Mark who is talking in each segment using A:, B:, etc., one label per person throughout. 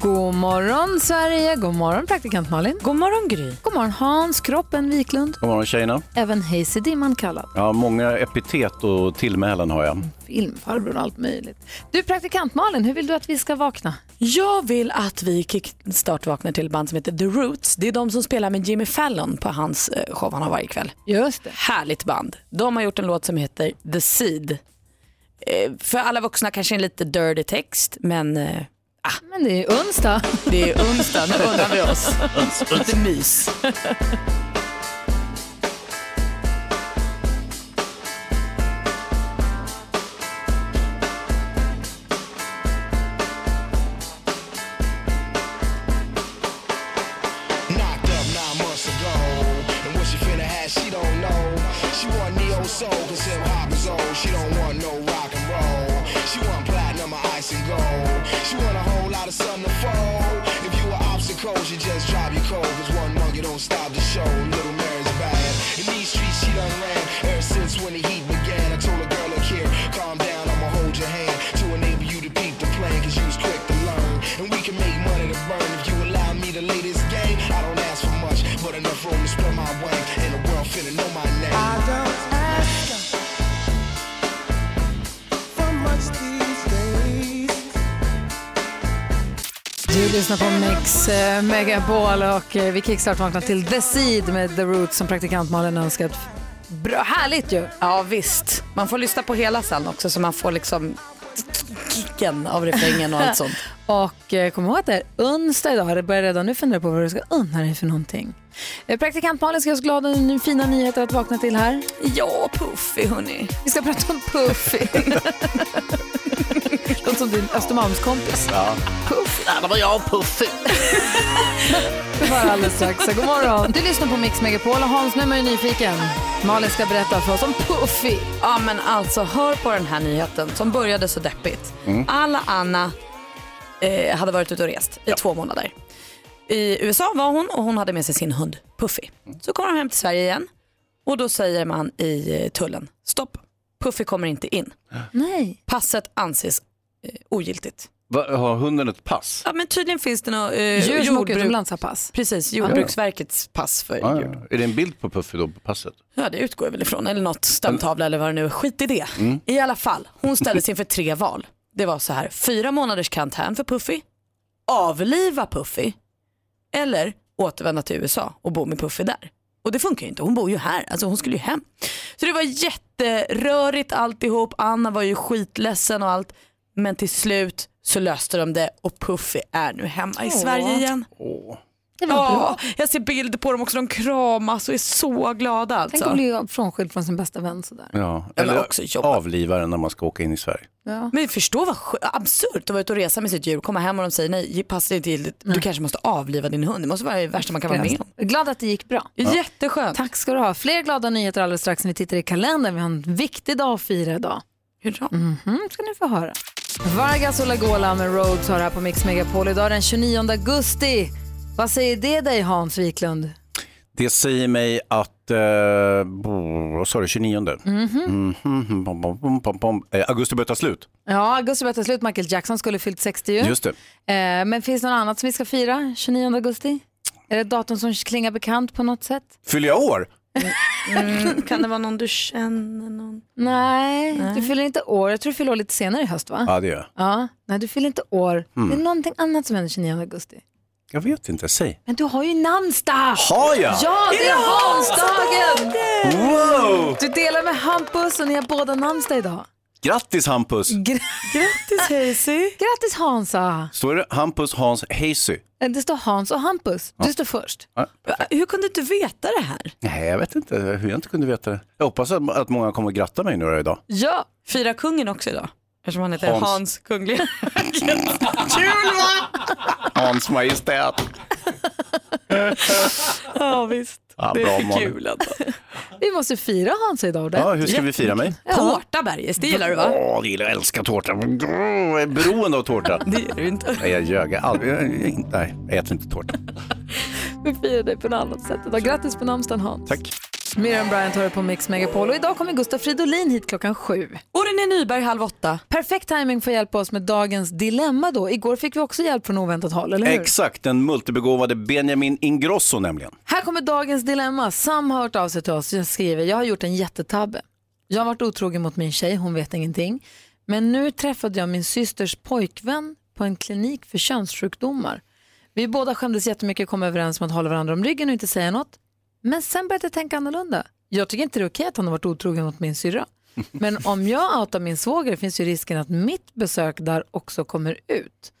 A: God morgon Sverige, god morgon praktikant Malin.
B: God morgon Gry.
A: God morgon Hans Kroppen Wiklund,
C: God morgon tjejerna.
A: även Hayes Dimman kallad.
C: Ja, många epitet och tillmälen har jag.
A: Filmfarbrorn och allt möjligt. Du praktikant Malin, hur vill du att vi ska vakna?
B: Jag vill att vi kickstartvaknar till ett band som heter The Roots. Det är de som spelar med Jimmy Fallon på hans eh, show han har varje kväll.
A: Just det.
B: Härligt band. De har gjort en låt som heter The Seed. Eh, För alla vuxna kanske en lite dirty text, men eh,
A: Men det är ju onsdag.
B: det är onsdag, nu undrar vi oss. Lite mys.
D: Knocked up nine months ago. And what she finna have, she don't know. She want neo soul, cause hip hop is old. She don't want no rock and roll. She want platinum or ice and gold. She want a whole lot of something to fold. If you an obstacle, you just drop your cold. Cause one monkey don't stop the show. Little Mary's bad. In these streets, she done ran. Ever since when the heat began, I told a girl, look here, calm down, I'ma hold your hand. To enable you to peep the plan, cause you was quick to learn. And we can make money to burn if you allow me to lay this game. I don't ask for much, but enough room to spread my wing. And the world finna know my name.
A: Du lyssnar på Mix eh, Megapol och eh, vi kickstartvaknar till The Seed med The Roots som praktikant Malin önskat. Bra, härligt ju!
B: Ja visst, man får lyssna på hela sen också så man får liksom kicken av refrängen och allt sånt.
A: Och eh, kom ihåg att det är onsdag idag. Det börjar redan nu fundera på vad du ska unna dig för någonting. Eh, Praktikant Malin ska göra oss glada och nu fina nyheter att vakna till här.
B: Ja, Puffy hörni.
A: Vi ska prata om Puffy. Låter som din Östermalmskompis. Ja. Puffy. Ja, det var jag och Puffy. det var alldeles strax. Så God morgon. Du lyssnar på Mix Megapol och Hans, nu är man ju nyfiken. Malin ska berätta för oss om Puffy.
B: Ja men alltså hör på den här nyheten som började så deppigt. Alla Anna eh, hade varit ute och rest i två månader. I USA var hon och hon hade med sig sin hund Puffy. Så kommer hon hem till Sverige igen och då säger man i eh, tullen stopp, Puffy kommer inte in.
A: Nej.
B: Passet anses eh, ogiltigt.
C: Va, har hunden ett pass?
B: Ja men tydligen finns det något eh,
A: Djur som åker
B: jordbruk-
A: utomlands har pass.
B: Precis, Jordbruksverkets pass för
C: Ah,
B: djur.
C: ja. Är det en bild på Puffy då på passet?
B: Ja, det utgår jag väl ifrån. Eller något stamtavla eller vad det nu är. Skit i det. I alla fall, hon ställdes inför tre val. Det var så här, fyra månaders karantän för Puffy, avliva Puffy eller återvända till USA och bo med Puffy där. Och det funkar ju inte, hon bor ju här, alltså hon skulle ju hem. Så det var jätterörigt alltihop, Anna var ju skitledsen och allt. Men till slut så löste de det och Puffy är nu hemma i Sverige igen.
C: Åh.
A: Det var
B: Ja,
A: bra.
B: jag ser bilder på dem också, de kramas och är så glada alltså.
A: Tänk att bli frånskild från sin bästa vän sådär.
C: Ja.
B: men
C: Eller
B: också jobba.
C: avliva den när man ska åka in i Sverige.
A: Ja.
B: Men förstå vad skö- absurt att vara ute och resa med sitt djur, komma hem och de säger nej, passet är inte giltigt, du kanske måste avliva din hund. Det måste vara det värsta man kan vara med om.
A: Glad att det gick bra.
B: Jätteskönt.
A: Tack ska du ha. Fler glada nyheter alldeles strax när vi tittar i kalendern. Vi har en viktig dag att fira idag.
B: Hurra.
A: Mm, ska ni få höra. Vargas och Lagola med Rhodes har här på Mix Megapol idag den 29 augusti. Vad säger det dig Hans Wiklund?
C: Det säger mig att, eh, bo- vad sa du, 29? Mhm, pom, pom, pom, pom, pom. Eh, augusti börjar ta slut.
A: Ja, augusti börjar ta slut. Michael Jackson skulle fyllt 60 ju.
C: Just det.
A: Eh, men finns det något annat som vi ska fira 29 augusti? Är det ett datum som klingar bekant på något sätt?
C: Fyller jag år?
B: Mm, Kan det vara någon du känner? Någon?
A: Nej, du fyller inte år. Jag tror du fyller år lite senare i höst va?
C: Ja, det Mm. gör jag.
A: Ja, nej du fyller inte år. Det är någonting annat som händer 29 augusti.
C: Jag vet inte, säg.
A: Men du har ju namnsdag!
C: Har jag?
A: Ja, det är Hansdagen!
C: Wow!
A: Du delar med Hampus och ni har båda namnsdag idag.
C: Grattis Hampus!
A: Gr-
B: Grattis Hazy.
A: Grattis Hansa!
C: Står det Hampus Hans Heisy?
A: Eh, Det står Hans och Hampus. Du står först.
B: Hur kunde du veta det här?
C: Nej, jag vet inte hur jag inte kunde veta det. Jag hoppas att, att många kommer att gratta mig nu då idag.
A: Ja,
B: Fira kungen också idag. Eftersom han heter Hans,
C: Hans.
B: Kungliga.
C: Hans Majestät.
B: ja visst.
C: Ja,
B: det
C: bra,
B: är för
C: Malin.
B: kul
A: alltså.
B: ändå.
A: vi måste fira Hansa idag
C: Ja,
A: ordentligt.
C: hur ska vi fira mig?
B: Tårta Bergis, det gillar du va?
C: Åh, jag gillar jag älskar tårta. Mm, Jag är beroende av tårta.
B: Det gör du inte.
C: Nej, jag ljög. Jag aldrig- jag- jag- Nej, jag äter inte tårta.
A: Vi firar dig på något annat sätt idag. Grattis på namnsdagen Hans.
C: Tack.
A: Miriam Bryant har det på Mix Megapol och idag kommer Gustaf Fridolin hit klockan sju.
B: Och René Nyberg halv åtta.
A: Perfekt timing för att hjälpa oss med dagens dilemma då. Igår fick vi också hjälp från oväntat håll, eller hur?
C: Exakt, den multibegåvade Benjamin Ingrosso nämligen.
A: Här kommer dagens dilemma. Sam har hört av sig till oss och skriver, jag har gjort en jättetabbe. Jag har varit otrogen mot min tjej, hon vet ingenting. Men nu träffade jag min systers pojkvän på en klinik för könssjukdomar. Vi båda skämdes jättemycket och kom överens om att hålla varandra om ryggen och inte säga något. Men sen började jag tänka annorlunda. Jag tycker inte det är okej att han har varit otrogen mot min syrra. Men om jag outar min svåger finns ju risken att mitt besök där också kommer ut.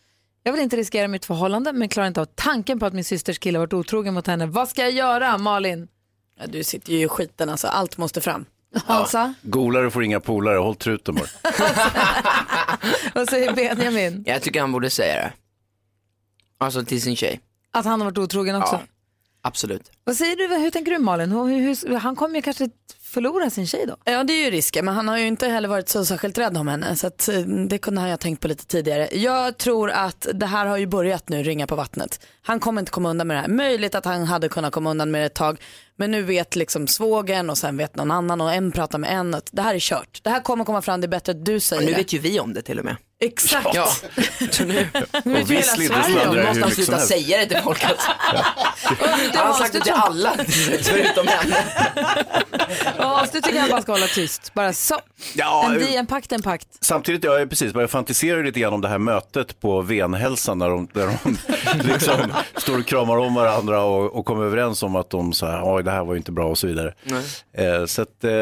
A: Jag vill inte riskera mitt förhållande men klarar inte av tanken på att min systers kille har varit otrogen mot henne. Vad ska jag göra, Malin?
B: Ja, du sitter ju i skiten alltså, allt måste fram.
A: Hansa,
C: Golare får inga polare, håll truten bara.
A: vad säger Benjamin?
E: Jag tycker han borde säga det. Alltså till sin tjej.
A: Att han har varit otrogen också?
E: Ja. Absolut.
A: Vad säger du, hur tänker du Malin? Hur, hur, hur, han kommer ju kanske förlora sin tjej då?
B: Ja det är ju risken men han har ju inte heller varit så särskilt rädd om henne så att, eh, det kunde han ju ha tänkt på lite tidigare. Jag tror att det här har ju börjat nu ringa på vattnet. Han kommer inte komma undan med det här. Möjligt att han hade kunnat komma undan med det ett tag men nu vet liksom svågen och sen vet någon annan och en pratar med en att det här är kört. Det här kommer komma fram, det är bättre att du
E: Och
B: säger
E: nu
B: det.
E: vet ju vi om det till och med.
B: Exakt.
E: Ja. Så nu,
B: Nu vet ju hela
C: visst lite
B: Sverige om
C: sladdrar.
E: nu
C: hur
E: måste han
C: mycket
E: sluta
C: som helst.
E: säga det till folk alltså. Han har sagt det till alla förutom henne.
A: Ja, så du tycker han bara ska hålla tyst? Bara så.
C: Ja,
A: en, di, en pakt, en pakt.
C: Samtidigt, jag är precis, jag fantiserar ju lite grann om det här mötet på Venhälsan när de, där de liksom står och kramar om varandra och, och kommer överens om att de så här, oj det här var ju inte bra och så vidare. Eh, så att, eh,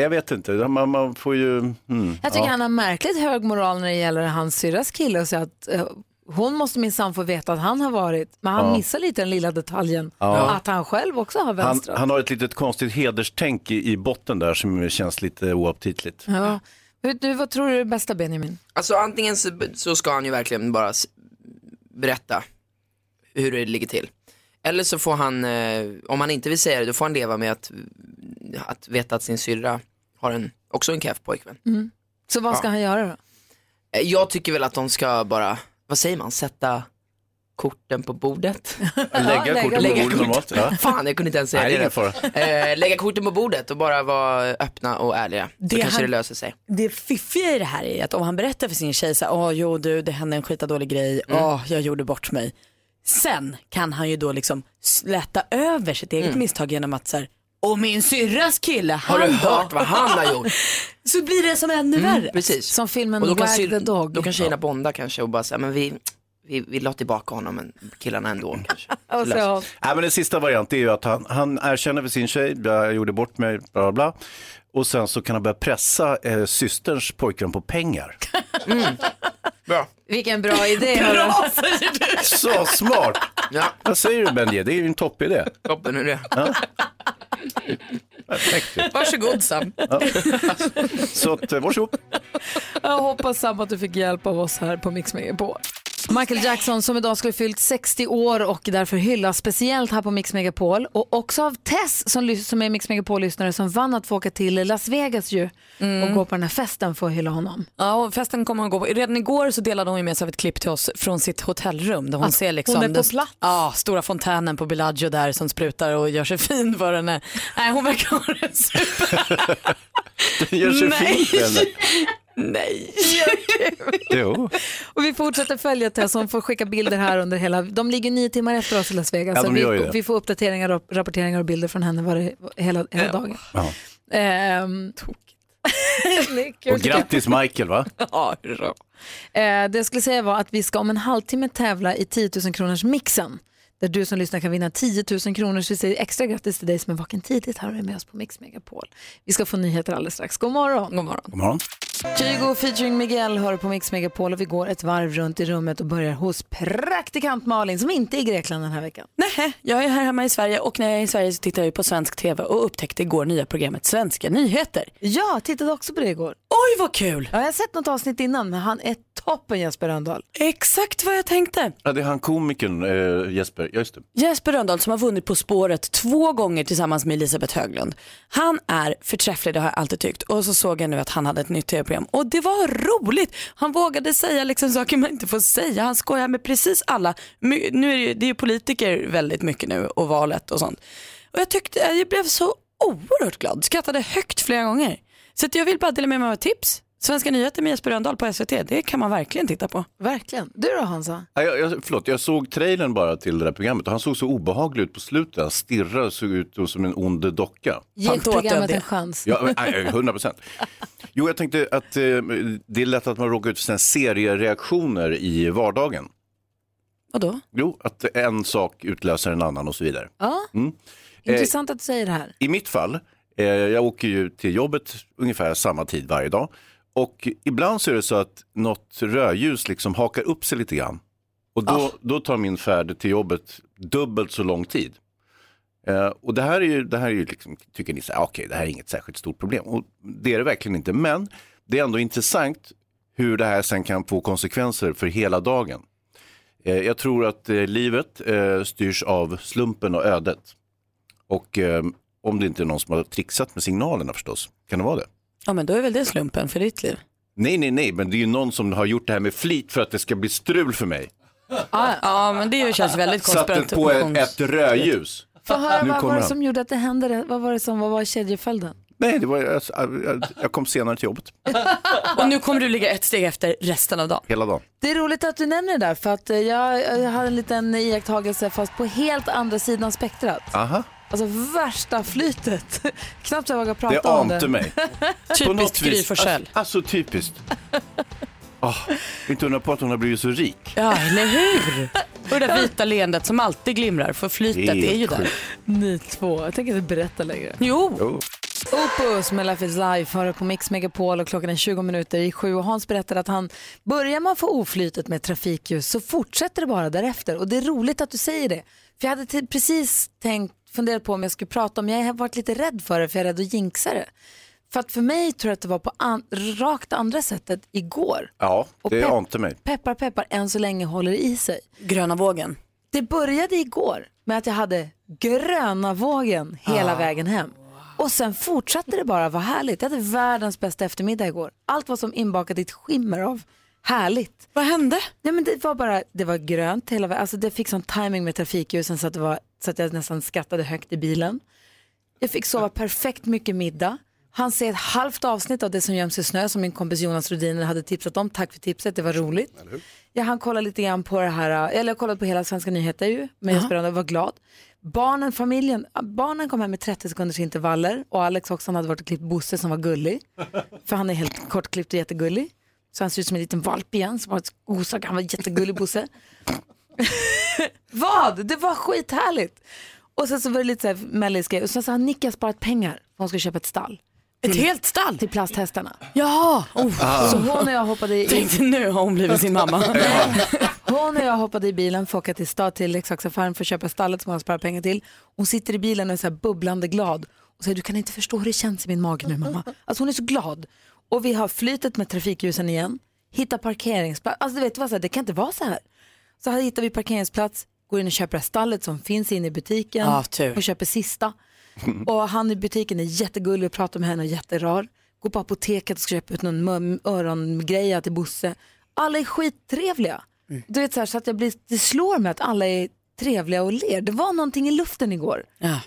C: jag vet inte, man, man får ju, mm,
A: Jag tycker han har märkligt hög moral när det gäller hans syrras kille och säga att eh, hon måste minsann få veta att han har varit, men han missar lite den lilla detaljen att han själv också har
C: han,
A: vänstrat.
C: han har ett litet konstigt hederstänk i, i botten där som känns lite oaptitligt.
A: Ja. Hur- Du, vad tror du är det bästa Benjamin?
E: Alltså antingen så, så ska han ju verkligen bara s- berätta hur det ligger till. Eller så får han, eh, om han inte vill säga det, då får han leva med att, att veta att sin syrra har en, också en keff pojkvän.
A: Mm. Så vad ska han göra då?
E: Eh, Jag tycker väl att de ska bara, vad säger man, sätta korten på bordet?
C: Lägga
A: lägga
C: korten på
E: lägga
C: bordet normalt. Ja.
E: Fan, jag kunde inte ens säga
C: Nej, det är ingen
E: det.
C: fara.
E: Eh, lägga korten på bordet och bara vara öppna och ärliga.
B: Det
E: Då kanske
B: han-
E: det löser sig.
B: det fiffiga i det här är att om han berättar för sin tjej så här, åh jo du, det hände en skitdålig grej,
E: Mm.
B: åh jag gjorde bort mig. Sen kan han ju då liksom släta över sitt eget misstag genom att så här, och min syrras kille,
E: Mm. Har
B: han
E: du
B: då?
E: hört vad han har gjort? Mm,
B: Så blir det som ännu värre.
E: Precis.
A: Som filmen
E: Och då
A: Wag
E: kan,
A: the
E: syr-
A: Dog.
E: då kan tjejerna bonda kanske och bara säga, men vi, vi, vi la tillbaka honom men killarna ändå
C: Mm.
E: kanske.
A: Och så, ja.
C: Nej, men den sista varianten är ju att han, han erkänner för sin tjej, jag gjorde bort mig, bla bla, bla. Och sen så kan han börja pressa eh, systerns pojkvän på pengar.
E: Bra.
A: Vilken bra idé. hörru.
C: Så smart!
E: Ja,
C: Vad säger du Benji? Det är ju en toppidé.
E: toppen är det.
C: Perfekt. ju.
E: Varsågod Sam.
C: Så att, eh, varsågod.
A: Jag hoppas Sam att du fick hjälp av oss här på Mix Megapol. Michael Jackson som idag skulle fyllt 60 år och därför hyllas speciellt här på Mix Megapol och också av Tess som, lys- som är Mix Megapol-lyssnare som vann att få åka till Las Vegas ju och gå på den här festen för att hylla honom.
B: Ja, och festen kommer hon gå på. Redan igår så delade hon ju med sig av ett klipp till oss från sitt hotellrum där hon ser liksom
A: hon är på
B: den-
A: plats.
B: Ja, stora fontänen på Bellagio där som sprutar och gör sig fin för henne. Nej, hon verkar ha det super.
C: Gör sig
B: Nej.
C: fin eller?
B: Nej.
C: Jo.
A: Och vi fortsätter följa Tess, hon får skicka bilder här under hela, de ligger nio timmar efter oss i Las Vegas.
C: Ja, de gör ju
A: vi,
C: det.
A: vi får uppdateringar, och rapporteringar och bilder från henne var hela, hela dagen.
C: Ja.
A: Ehm,
C: Och grattis Michael va?
B: Ja, hurra.
A: Eh, det jag skulle säga var att vi ska om en halvtimme tävla i 10 000 kronors mixen. Där du som lyssnar kan vinna 10 000 kronor. Så vi säger extra grattis till dig som är vaken tidigt här och är med oss på Mix Megapol. Vi ska få nyheter alldeles strax. God morgon.
B: God morgon.
C: God morgon.
A: Kygo featuring Miguel hör på Mix Megapol och vi går ett varv runt i rummet och börjar hos praktikant Malin som inte är i Grekland den här veckan.
B: Nej, jag är här hemma i Sverige och när jag är i Sverige så tittar jag ju på svensk tv och upptäckte igår nya programmet Svenska nyheter.
A: Ja, tittade också på det igår.
B: Oj vad kul!
A: Ja, jag har sett något avsnitt innan men han är toppen Jesper Rönndahl.
B: Exakt vad jag tänkte.
C: Ja, det är han komikern eh, Jesper, ja just det.
B: Jesper Rönndahl som har vunnit På spåret två gånger tillsammans med Elisabeth Höglund. Han är förträfflig, det har jag alltid tyckt. Och så såg jag nu att han hade ett nytt tv-program och det var roligt. Han vågade säga liksom saker man inte får säga. Han skojar med precis alla. My- Nu är det, ju, det är ju politiker väldigt mycket nu och valet och sånt. Och jag tyckte, jag blev så oerhört glad, skrattade högt flera gånger. Så att jag vill bara dela med mig av ett tips. Svenska nyheter med Jesper Rönndahl på SVT, det kan man verkligen titta på.
A: Verkligen. Du då Hansa?
C: Nej, Jag, jag, förlåt, jag såg trailern bara till det där programmet och han såg så obehaglig ut på slutet. Han stirrade och såg ut som en ond docka.
A: Ge
B: Fan, då åt jag
A: programmet
B: det.
A: en chans.
C: Ja, men, nej, 100 procent. Jo, jag tänkte att eh, det är lätt att man råkar ut för såna här seriereaktioner i vardagen.
B: Vadå?
C: Jo, att en sak utlöser en annan och så vidare.
A: Ja. Intressant att du säger det här.
C: Mm. Eh, I mitt fall, eh, jag åker ju till jobbet ungefär samma tid varje dag. Och ibland så är det så att något rödljus liksom hakar upp sig lite grann. Och då, då tar min färd till jobbet dubbelt så lång tid. Eh, och det här är ju, det här är ju liksom, tycker ni, så här, okej det här är inget särskilt stort problem. Och det är det verkligen inte, men det är ändå intressant hur det här sen kan få konsekvenser för hela dagen. Eh, jag tror att eh, livet eh, styrs av slumpen och ödet. Och eh, om det inte är någon som har trixat med signalerna förstås, kan det vara det?
B: Ja men då är väl det slumpen för ditt liv.
C: Nej, nej, nej, men det är ju någon som har gjort det här med flit för att det ska bli strul för mig.
B: Ja men det känns väldigt
C: Satt den på ett,
B: konspirations...
C: ett rödljus.
A: Få höra,
C: Ah, Nu
A: vad var
C: kommer
A: det
C: han.
A: som gjorde att det hände? det? Vad var det som vad var kedjeföljden?
C: Nej, det var, jag, jag, jag kom senare till jobbet
B: Och nu kommer du ligga ett steg efter resten av dagen.
C: hela dagen.
A: Det är roligt att du nämner det där för att eh, jag, jag har en liten iakttagelse fast på helt andra sidan spektrat.
C: Aha,
A: Alltså värsta flytet. Knappt jag vågar
C: det
A: prata om det.
C: ante mig. På något
B: Typiskt Gry
C: vis.
B: Forssell.
C: Alltså, alltså typiskt. Ah, inte undra på att hon har blivit så rik.
B: Ja eller hur? Och det där vita leendet som alltid glimrar för flytet är ju där.
C: sjukt.
A: Ni två, jag tänker inte berätta längre.
B: Jo.
C: Jo.
A: Opus med Life is Life hör på Mix Megapol och klockan är 20 minuter i sju. Och Hans berättade att han, börjar man få oflytet med trafikljus så fortsätter det bara därefter. Och det är roligt att du säger det. För jag hade till- precis tänkt, funderat på om jag skulle prata om, jag har varit lite rädd för det för jag är rädd att jinxa det. För att för mig tror jag att det var på an, rakt andra sättet igår.
C: Ja,
A: Och
C: det
A: pepp-
C: ante mig.
A: Peppar peppar än så länge håller det i sig.
B: Gröna vågen.
A: Det började igår med att jag hade gröna vågen
B: Ah.
A: hela vägen hem. Och sen fortsatte det bara, vad härligt. Jag hade världens bästa eftermiddag igår. Allt var som inbakat i ett skimmer av härligt.
B: Vad hände?
A: Nej men det var bara, det var grönt hela vägen. Alltså det fick sån timing med trafikljusen så att, det var, så att jag nästan skrattade högt i bilen. Jag fick sova perfekt mycket middag. Han ser ett halvt avsnitt av Det som göms i snö som min kompis Jonas Rhodiner hade tipsat om. Tack för tipset, det var roligt. Jag hann kolla lite grann på det här, eh, eller jag kollade på hela Svenska nyheter ju med Jesper Rönndahl och var glad. Barnen, familjen, barnen kom hem med 30 sekunders intervaller och Alex också, han hade varit och klippt Bosse som var gullig. För han är helt kortklippt och jättegullig. Så han ser ut som en liten valp igen som har ett osak, han var jättegullig Bosse. Vad? Det var skithärligt. Och sen så var det lite så här mellis grej. Och sen så har Nicka sparat pengar för hon ska köpa ett stall
B: Ett helt stall.
A: till plasthästarna.
B: Ja.
C: Ah.
A: Så hon och jag hoppade i,
B: Tänkte nu har hon blivit sin mamma.
A: hon och jag hoppade i bilen för att åka till stad till leksaksaffären för att köpa stallet som hon har sparat pengar till. Hon sitter i bilen och är så här bubblande glad och säger du kan inte förstå hur det känns i min mage nu mamma. Alltså hon är så glad. Och vi har flytet med trafikljusen igen, hitta parkeringsplats. Alltså du vet, det, var så här, det kan inte vara så här. Så här hittar vi parkeringsplats, går in och köper det här stallet som finns inne i butiken.
B: Ja, tur.
A: och köper sista. Och han i butiken är jättegullig och pratar med henne och jätterar. Går på apoteket och ska köpa ut någon mö- örongreja till Bosse. Alla är skittrevliga. Du vet så, här, så att jag blir, det slår mig att alla är trevliga och ler. Det var någonting i luften igår.
B: Ja.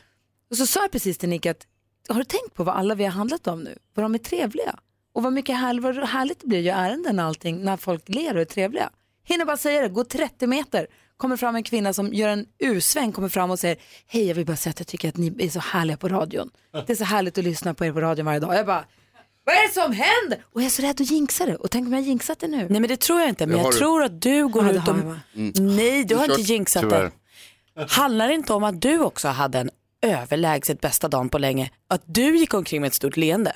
A: Och så sa jag precis till Nick att har du tänkt på vad alla vi har handlat om nu? Vad de är trevliga. Och vad mycket härligt, vad härligt det blir ju ärenden och allting när folk ler och är trevliga. Hinner bara säga det, gå 30 meter. Kommer fram en kvinna som gör en U-sväng, kommer fram och säger Hej jag vill bara säga att jag tycker att ni är så härliga på radion. Det är så härligt att lyssna på er på radion varje dag. Jag bara Vad är det som händer? Och jag är så rädd att jinxa det. Och tänk om jag har jinxat det nu.
B: Nej men det tror jag inte. Men
F: Det har
B: jag
F: du.
B: tror att du går
A: Ja, det
B: ut
A: har
B: och...
A: jag, va?
B: Nej du har inte
F: kört,
B: jinxat
C: Mm. tyvärr.
B: det. Handlar det inte om att du också hade en överlägset bästa dagen på länge? Att du gick omkring med ett stort leende?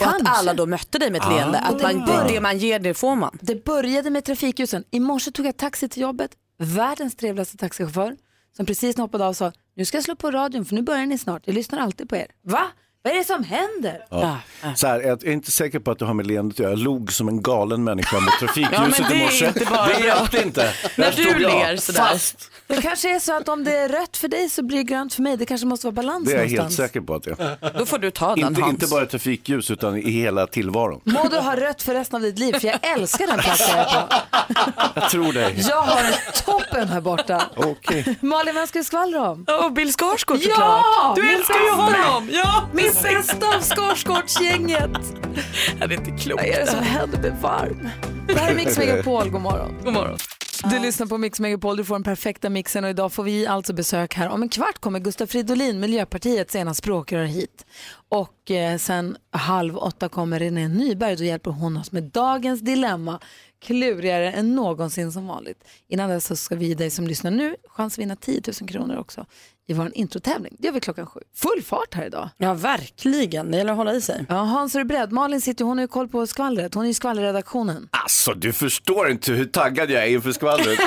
B: Och att
A: Kanske.
B: alla då mötte dig
C: Ah.
B: med ett leende? Att man, det, det man ger det får man.
A: Det började med trafikljusen. I morse tog jag taxi till jobbet. Världens trevligaste taxichaufför som precis när jag hoppade av sa nu ska jag slå på radion för nu börjar ni snart. Jag lyssnar alltid på er. Va? Vad är det som händer?
B: Ja.
C: Så här, jag är inte säker på att det har med leendet att göra. Jag log som en galen människa mot
B: Ja, men
C: trafikljuset
B: det
C: i
B: är
C: morse.
B: inte bara
C: det hjälpte inte. Där
B: När
C: stod
B: du
C: jag.
B: ler sådär.
C: Fast
A: Det kanske är så att om det är rött för dig så blir det grönt för mig. Det kanske måste vara balans
C: Det är jag helt
A: någonstans.
C: säker på att jag.
G: Då får du ta den
C: Inte,
G: Hans.
C: inte bara ett trafikljus utan i hela tillvaron.
A: Må du ha rött för resten av ditt liv, för jag älskar den plats jag är på.
C: Jag tror dig.
A: Jag har en toppen här borta.
C: Okej.
A: Malin, vem ska du skvallra om?
G: Och Bill Skarsgård
A: Ja!
G: såklart.
A: Min
G: du älskar ju
A: bästa.
G: honom. Ja,
A: Min bästa av Skarsgårdsgänget.
G: det är inte klokt.
A: Vad är det som händer? Bli varm. Det här är Mix Megapol, god morgon.
G: God morgon.
A: Du lyssnar på Mix Megapol, du får den perfekta mixen och idag får vi alltså besök här. Om en kvart kommer Gustav Fridolin, Miljöpartiets ena språkrör hit. Och eh, sen halv åtta kommer René Nyberg, då hjälper hon oss med dagens dilemma. Klurigare än någonsin som vanligt. Innan dess så ska vi, dig som lyssnar nu, chans att vinna 10 000 kronor också i vår introtävling. Det gör vi klockan sju. Full fart här idag.
B: Ja, verkligen. Det gäller att hålla i sig.
A: Ja, Hans, är du beredd? Malin sitter, hon har ju koll på skvallret. Hon är ju skvallerredaktionen.
C: Alltså du förstår inte hur taggad jag är inför skvallret.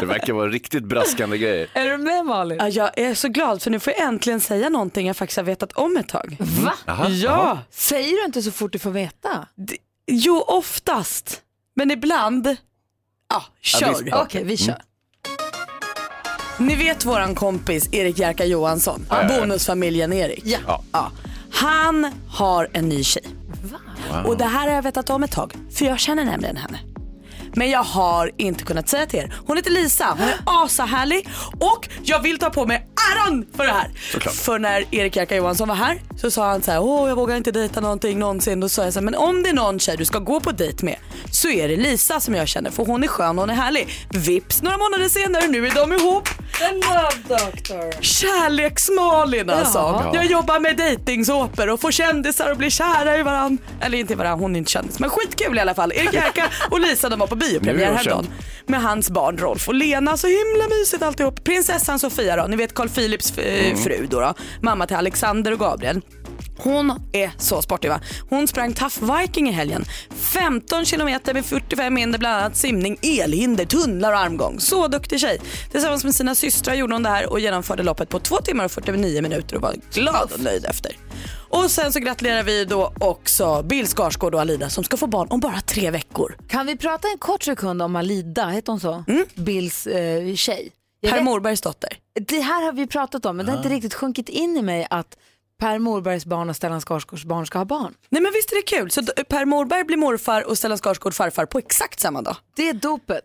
C: Det verkar vara riktigt braskande grejer.
A: Är du med Malin?
B: Ja, jag är så glad för nu får jag äntligen säga någonting jag faktiskt har vetat om ett tag.
A: Va?
B: Ja,
A: Säger du inte så fort du får veta?
B: jo oftast. Men ibland, ja, kör.
C: visst.
A: Okej, vi kör.
B: Ni vet våran kompis Erik Jerka Johansson, bonusfamiljen Erik. Ja. Han har en ny tjej. Och det här har jag vetat om ett tag, för jag känner nämligen henne. Men jag har inte kunnat säga till er. Hon heter Lisa, hon är asahärlig och jag vill ta på mig äran för det här. För när Erik Jerka Johansson var här så sa han så här, åh jag vågar inte dejta någonting någonsin. Då sa jag så här, men om det är någon tjej du ska gå på dejt med så är det Lisa som jag känner för hon är skön, hon är härlig. Vips några månader senare, nu är de ihop. Kärleksmalin alltså. Jag jobbar med dejtingsåpor och får kändisar och blir kära i varann. Eller inte i varann, hon är inte kändis. Men skitkul i alla fall. Erik Jerka och Lisa de var på
C: Nu är
B: biopremiär
C: hon
B: häromdagen. Med hans barn Rolf och Lena. Så himla mysigt alltihop. Prinsessan Sofia då, ni vet Carl Philips eh, fru då, då. Mamma till Alexander och Gabriel. Hon är så sportig va? Hon sprang Tough Viking i helgen. 15 kilometer med 45 hinder bland annat simning, elhinder, tunnlar och armgång. Så duktig tjej. Tillsammans med sina systrar gjorde hon det här och genomförde loppet på 2 timmar och 49 minuter och var glad och nöjd efter. Och sen så gratulerar vi då också Bill Skarsgård och Alida som ska få barn om bara tre veckor.
A: Kan vi prata en kort sekund om Alida, heter hon så? Bills eh, tjej. Jag
B: Mm. Per
A: vet-
B: Morbergs dotter. Ah.
A: det här har vi pratat om, men det har inte riktigt sjunkit in i mig att Per Morbergs barn och Stellan Skarsgårds barn ska ha barn.
B: Nej men visst är det kul? Så d- Per Morberg blir morfar och Stellan Skarsgård farfar på exakt samma dag.
A: Det är dopet.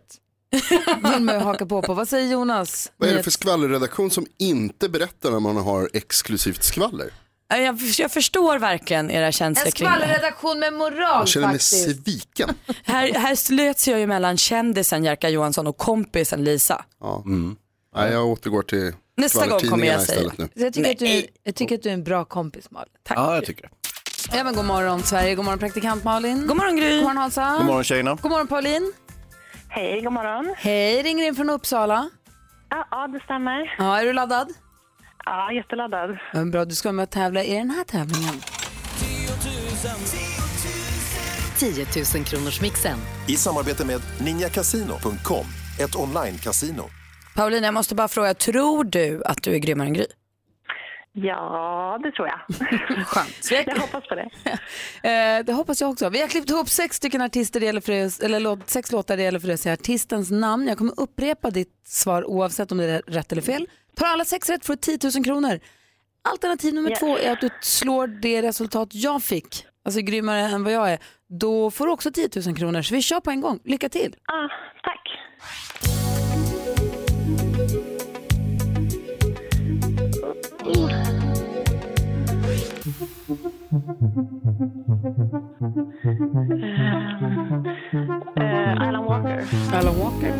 A: vill man ju haka på på. Vad säger Jonas?
H: Vad är det för skvallerredaktion som inte berättar när man har exklusivt skvaller?
B: Äh, Jag, jag förstår verkligen era
A: En
B: känslor kring det här.
A: skvallerredaktion med moral
H: Jag känner mig
A: faktiskt.
H: sviken.
B: Här, här slöts jag ju mellan kändisen Jerka Johansson och kompisen Lisa.
H: Ja.
C: Mm.
H: Nej, jag återgår till
B: Nästa gång kommer jag
H: skvallertidningarna
B: säga.
H: istället nu.
A: Så Jag tycker, att du, är- jag tycker att du är en bra kompis Malin. Tack.
C: Ja, jag tycker det.
A: Ja, men god morgon Sverige, god morgon praktikant Malin.
B: God morgon Gry.
A: God morgon Hansa.
C: God morgon tjejerna.
A: God morgon Pauline.
I: Hej, god morgon.
A: Hej, ringer in från Uppsala.
I: Ja, ja det stämmer.
A: Ja, är du laddad?
I: Ja, jätteladdad.
A: Ja, Bra, du ska vara med och tävla i den här tävlingen.
J: 10 000 kronors mixen.
K: I samarbete med ninjakasino.com, ett online-casino.
B: Paulina, jag måste bara fråga, tror du att du är grymmare än Gry?
I: Ja, det tror jag.
B: Skönt.
I: Jag hoppas på det.
A: Eh, det hoppas jag också. Vi har klippt ihop sex stycken artister, det gäller för det, eller låt, sex låtar, det gäller för det att säga artistens namn. Jag kommer upprepa ditt svar oavsett om det är rätt eller fel. Tar alla sex rätt får du 10 000 kronor. Alternativ nummer
I: Yes.
A: två är att du slår det resultat jag fick, alltså grymmare än vad jag är. Då får du också 10 000 kronor. Så vi kör på en gång. Lycka till!
I: Ja, tack. Eh, eh, Alan Walker.
A: Alan Walker.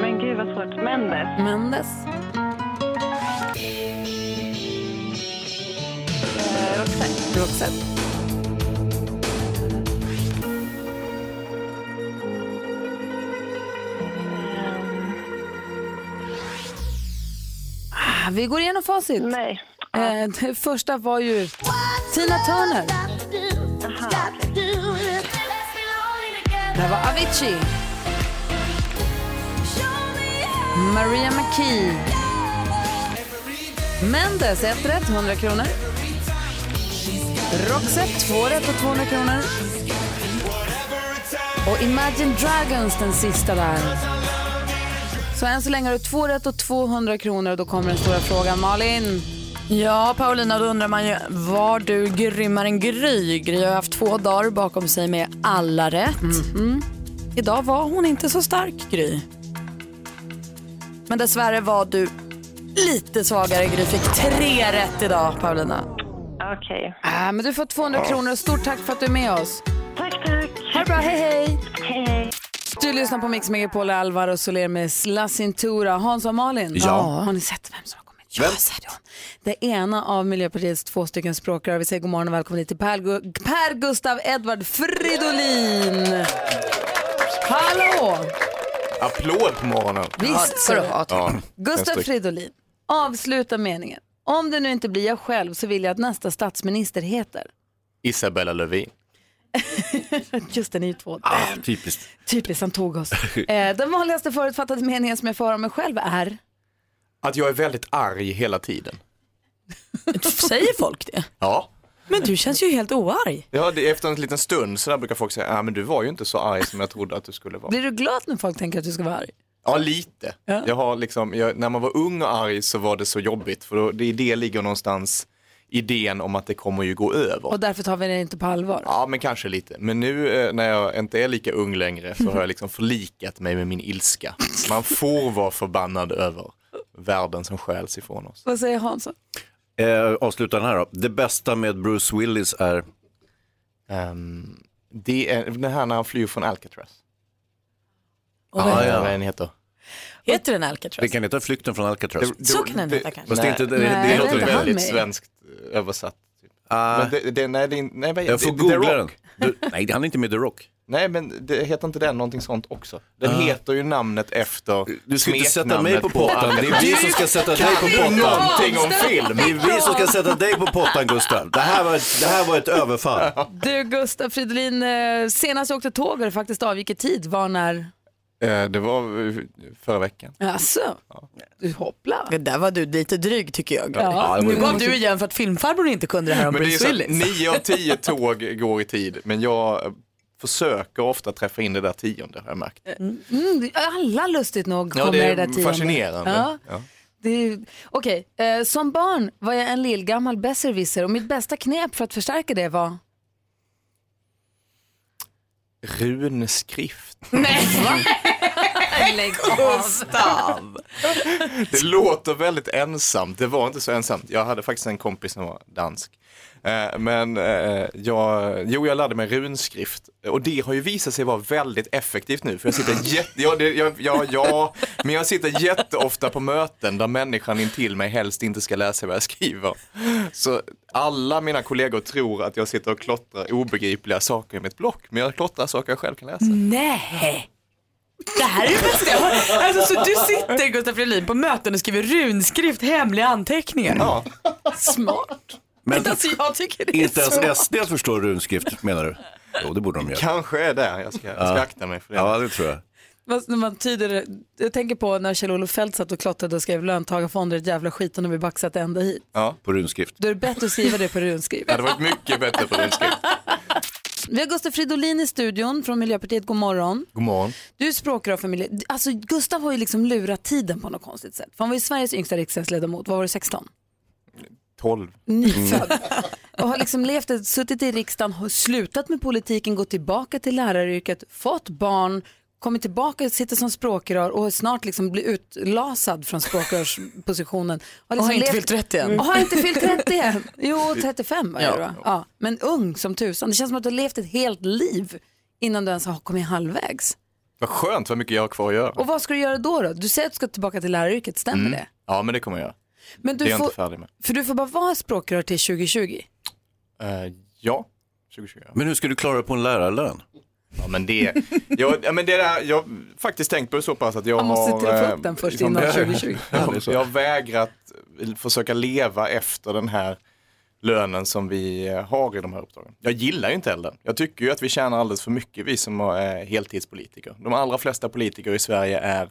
I: Men gud vad svårt. Mendes.
A: Mendes.
I: Eh,
A: Roxette. Roxette. Ah, Vi går igenom facit.
I: Nej.
A: Eh, det första var ju Tina Turner. Det här var Avicii. Maria McKee. Mendes, ett rätt, 100 kronor.
L: Roxette, två rätt och 200 kronor. Och Imagine Dragons, den sista där.
A: Så än så länge har du två rätt och 200 kronor och då kommer den stora frågan. Malin?
B: Ja, Paulina, då undrar man ju, var du grymmare än Gry? Gry har haft två dagar bakom sig med alla rätt. Mhm. Idag var hon inte så stark, Gry. Men dessvärre var du lite svagare, Gry. Fick tre rätt idag, Paulina.
M: Okej.
A: Äh, men du får 200 kronor och stort tack för att du är med oss.
M: Tack, tack.
A: Ha det bra, hej hej!
M: Hej, hej.
A: Du lyssnar på Mix Megapol, Alvaro Soler med Slassintura. Hans och Malin,
L: Ja.
A: har ni sett vem som har kommit? Jag har sett dem. Det ena av Miljöpartiets två stycken språkrör. Vi säger god morgon och välkommen hit till Per, Gu- per Gustav Edvard Fridolin. Hallå!
N: Applåd på morgonen.
A: Visst ska du ha.
N: Ja.
A: Gustav
N: Fänstryck.
A: Fridolin, avsluta meningen. Om det nu inte blir jag själv så vill jag att nästa statsminister heter.
N: Isabella Lövin.
A: Just det, ni är två.
C: Typiskt.
A: Typiskt, han tog oss. Eh, den vanligaste förutfattade meningen som jag får om mig själv är
N: Att jag är väldigt arg hela tiden.
B: Säger folk det?
N: Ja.
B: Men du känns ju helt oarg.
N: Ja, det, efter en liten stund så där brukar folk säga, ah, men du var ju inte så arg som jag trodde att du skulle vara.
A: Blir du glad när folk tänker att du ska vara arg?
N: Ja, lite. Jag har liksom, jag, när man var ung och arg så var det så jobbigt, för då, det, i det ligger någonstans idén om att det kommer ju gå över.
A: Och därför tar vi det inte på allvar.
N: Ja, men kanske lite. Men nu eh, när jag inte är lika ung längre så har jag liksom förlikat mig med min ilska. Man får vara förbannad över världen som stjäls ifrån oss.
A: Vad säger Hansson?
C: Eh, avsluta den här då. Det bästa med Bruce Willis är?
N: Ehm, det är den här när han flyr från Alcatraz.
B: Och vad heter
C: Ah, ja.
N: Vad den heter?
B: Heter den Alcatraz?
C: Det kan heta Flykten från Alcatraz.
N: Det- det- Så kan den heta, det- kanske.
C: Fast det, är inte, det,
N: Nej,
C: det
N: det är
C: låter
N: inte han
C: väldigt
N: med. svenskt eh, översatt. typ. Men det, det, nej, det, är- nej, vad-
C: Ah. Jag får
N: det- The
C: googla den.
N: Rock.
C: Du, nej, han är inte med The Rock.
N: Nej, men det heter inte den någonting sånt också? Den
C: Ah.
N: heter ju namnet efter
C: Du ska inte sätta
N: smeknamnet
C: mig på pottan. Det är vi som ska sätta dig på
N: Kan du
C: pottan.
N: någonting om film?
C: Det är vi som ska sätta dig på pottan, Gustav. Det här var ett, det här var ett överfall.
A: Du Gustav Fridolin, eh, senast jag åkte tåg och det faktiskt avgick i tid var när...
N: Eh, Det var eh, förra veckan.
A: Alltså, du hoppla.
B: Det där var du lite dryg tycker jag.
N: Ja, det var
B: nu
N: det.
B: gav du igen för att filmfarbrorn inte kunde det här om
N: Men det är
B: Bruce
N: så
B: Willis.
N: att nio av tio tåg går i tid, men jag eh, försöker ofta träffa in det där tionde har jag märkt.
A: Mm, det- alla lustigt nog kommer
N: Ja, det
A: i det där
N: är
A: tionde.
N: fascinerande.
A: Ja.
N: Ja.
A: Det är- Okej, eh, som barn var jag en lillgammal besserwisser och mitt bästa knep för att förstärka det var...
N: Runskrift.
A: Lägg
B: Gustav!
N: Det låter väldigt ensamt. Det var inte så ensamt. Jag hade faktiskt en kompis som var dansk. Eh, Men eh, jag, jo, jag lärde mig runskrift och det har ju visat sig vara väldigt effektivt nu. För jag sitter jätte, ja, det, ja, ja, ja, men jag sitter jätteofta på möten där människan intill mig helst inte ska läsa vad jag skriver. Så alla mina kollegor tror att jag sitter och klottrar obegripliga saker i mitt block, men jag klottrar saker jag själv kan läsa.
B: Nej! Det här är det bästa jag har alltså, Så du sitter Gustaf Fridolin på möten och skriver runskrift, hemliga anteckningar.
N: Ja.
B: Smart.
C: Men
B: Inte ens jag tycker det är
C: inte ens
B: smart.
C: SD förstår runskrift, menar du? Jo, det borde de göra.
N: Kanske är det. Jag ska, jag ska akta mig för det.
C: Ja, det tror jag.
A: Vad- När man tyder, jag tänker på när Kjell-Olof Feldt satt och klottrade och skrev löntagarfonder är ett jävla skiten och vi baxat ända hit.
N: Ja.
C: På runskrift.
A: Då är det bättre att skriva det på runskrift.
N: Det hade varit mycket bättre på runskrift.
A: Vi har Gustav Fridolin i studion från Miljöpartiet, god morgon.
N: God morgon.
A: Du är språkrör för miljö... Alltså Gustav har ju liksom lurat tiden på något konstigt sätt. För han var ju Sveriges yngsta riksdagsledamot, vad var det, 16?
N: 12.
A: Nyfödd. Och har liksom levt, ett- suttit i riksdagen, har slutat med politiken, gått tillbaka till läraryrket, fått barn, kommit tillbaka, sitter som språkrör och har snart liksom blir utlasad från språkrörspositionen. liksom
B: Och har inte fyllt 30 än.
A: Och har inte fyllt 30 än. Jo, 35 var det
B: Ja.
A: va? Ja. Men ung som tusan. Det känns som att du har levt ett helt liv innan du ens har kommit halvvägs.
N: Vad skönt vad mycket jag har kvar att göra.
A: Och vad ska du göra då? då? Du säger att du ska tillbaka till läraryrket, stämmer
N: Mm.
A: det?
N: Ja, men det kommer jag göra.
A: Men du
N: det är jag
A: får-
N: inte färdig med.
A: För du får bara vara språkrör till 2020.
N: Eh, ja, 2020.
C: Men hur ska du klara på en lärarlön?
N: Ja, men det, jag, ja, men det där, jag har faktiskt tänkt på det så pass att jag
A: Man måste
N: har...
A: träffa
N: eh,
A: upp den först innan 2020.
N: jag, jag har vägrat försöka leva efter den här lönen som vi eh, har i de här uppdragen. Jag gillar ju inte heller den. Jag tycker ju att vi tjänar alldeles för mycket, vi som är heltidspolitiker. De allra flesta politiker i Sverige är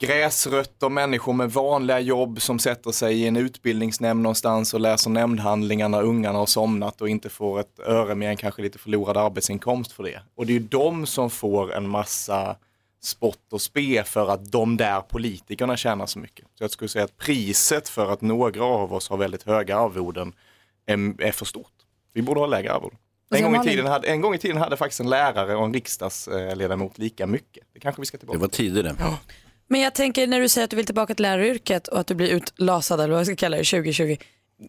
N: gräsrötter, människor med vanliga jobb som sätter sig i en utbildningsnämnd någonstans och läser nämndhandlingarna, ungarna har somnat och inte får ett öre mer än kanske lite förlorad arbetsinkomst för det. Och det är ju de som får en massa spott och spe för att de där politikerna tjänar så mycket. Så jag skulle säga att priset för att några av oss har väldigt höga arvoden är, är för stort. Vi borde ha lägre arvoden.
L: Och
N: En
L: sen
N: gång, i
L: Malin-
N: tiden hade, en gång i tiden hade faktiskt en lärare och en riksdagsledamot lika mycket. Det kanske vi ska tillbaka
C: Det var tider det.
O: Men jag tänker när du säger att du vill tillbaka till läraryrket och att du blir utlasad eller vad jag ska kalla det 2020.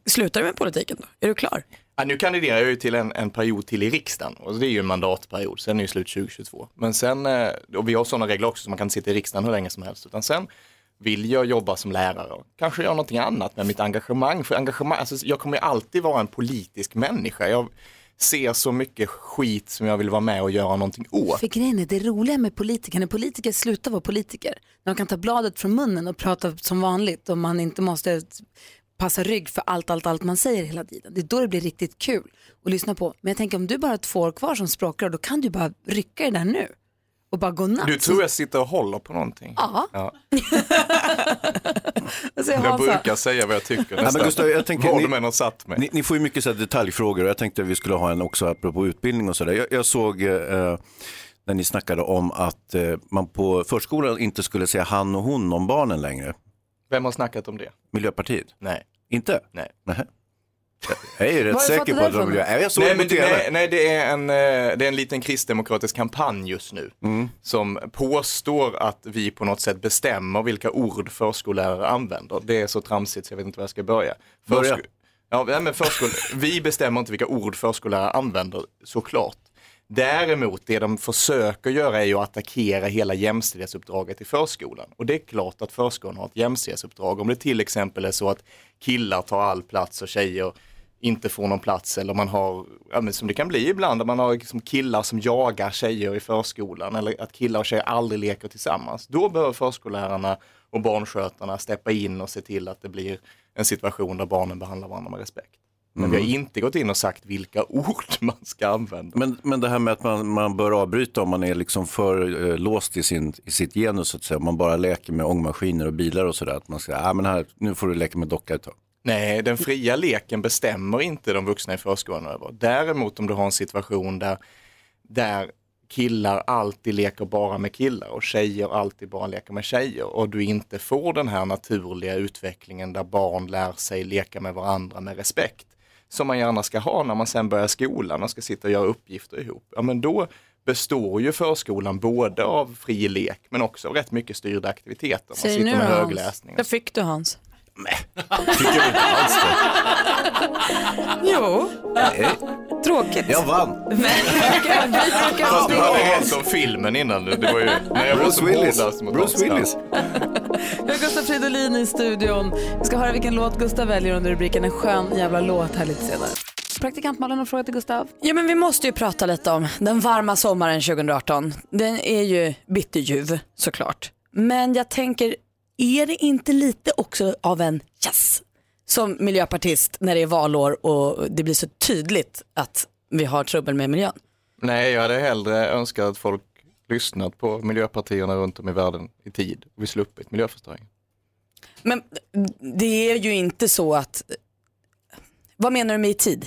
O: Slutar du med politiken då? Är du klar?
N: Ja, nu kandiderar jag ju till en, en period till i riksdagen och det är ju en mandatperiod, sen är ju slut 2022. Men sen, eh, och vi har sådana regler också så man kan inte sitta i riksdagen hur länge som helst, utan sen vill jag jobba som lärare och kanske göra någonting annat med mitt engagemang. För engagemang, alltså, jag kommer ju alltid vara en politisk människa. Jag ser så mycket skit som jag vill vara med och göra någonting åt.
A: För grejen är det roliga med politiker, när politiker slutar vara politiker, när de kan ta bladet från munnen och prata som vanligt och man inte måste passa rygg för allt, allt, allt man säger hela tiden. Det är då det blir riktigt kul att lyssna på. Men jag tänker om du bara har två år kvar som språkrör, då kan du bara rycka i det där nu och bara godnatt.
N: Du tror jag sitter och håller på någonting?
A: Ja.
N: ja.
A: Alltså, jag
N: Jag
A: har så här-
N: brukar säga vad jag tycker
C: Nej, men
N: nästan.
C: Gustav, jag tänker,
N: Vad
C: ni-
N: de än har satt mig.
C: Ni, ni får ju mycket så här detaljfrågor och jag tänkte att vi skulle ha en också apropå utbildning och sådär. Jag, jag såg eh, eh, när ni snackade om att eh, man på förskolan inte skulle säga han och hon om barnen längre.
N: Vem har snackat om det?
C: Miljöpartiet?
N: Nej.
C: Inte?
N: Nej.
C: Jag är ju rätt säker på att de gör. Nej, Jag såg
N: nej,
C: det på
N: men, det-
C: tv.
N: nej, nej, det är en, eh, det är en liten kristdemokratisk kampanj just nu
C: Mm.
N: som påstår att vi på något sätt bestämmer vilka ord förskollärare använder. Det är så tramsigt så jag vet inte var jag ska börja.
C: Börja.
N: ja, nej, men förskol... vi bestämmer inte vilka ord förskollärare använder, såklart. Däremot, det de försöker göra är ju att attackera hela jämställdhetsuppdraget i förskolan. Och det är klart att förskolan har ett jämställdhetsuppdrag. Om det till exempel är så att killar tar all plats och tjejer inte får någon plats eller man har, ja, men som det kan bli ibland, där man har liksom killar som jagar tjejer i förskolan eller att killar och tjejer aldrig leker tillsammans. Då behöver förskollärarna och barnskötarna steppa in och se till att det blir en situation där barnen behandlar varandra med respekt. Men vi har inte gått in och sagt vilka ord man ska använda.
C: Men, men det här med att man, man bör avbryta om man är liksom för eh, låst i, sin, i sitt genus, så att säga. om man bara leker med ångmaskiner och bilar och sådär. Att man säger, ah, men här, nu får du leka med docka ett tag.
N: Nej, den fria leken bestämmer inte de vuxna i förskolan över. Däremot om du har en situation där, där killar alltid leker bara med killar och tjejer alltid bara leker med tjejer och du inte får den här naturliga utvecklingen där barn lär sig leka med varandra med respekt som man gärna ska ha när man sen börjar skolan och ska sitta och göra uppgifter ihop. Ja, men då består ju förskolan både av fri lek men också av rätt mycket styrda aktiviteter. Man
O: Säg nu
N: sitter
O: då
N: med
O: Hans.
N: högläsning.
O: Där fick du Hans.
A: Jo. Tråkigt.
C: Jag vann.
N: Fast du hade rätt om filmen innan. Det var ju när jag var
C: Bruce
N: som
C: Willis.
N: hårdast mot
C: Bruce
N: oss. Ja.
C: Willis.
A: Vi har Gustav Fridolin i studion. Vi ska höra vilken låt Gustav väljer under rubriken En skön jävla låt här lite senare. Praktikant Malin har frågat till Gustav.
O: Ja men vi måste ju prata lite om den varma sommaren 2018. Den är ju bitterljuv såklart. Men jag tänker, är det inte lite också av en yes som miljöpartist när det är valår och det blir så tydligt att vi har trubbel med miljön?
N: Nej, jag hade hellre önskat att folk lyssnat på miljöpartierna runt om i världen i tid och vi sluppit miljöförstöring.
O: Men det är ju inte så att, vad menar du med i tid?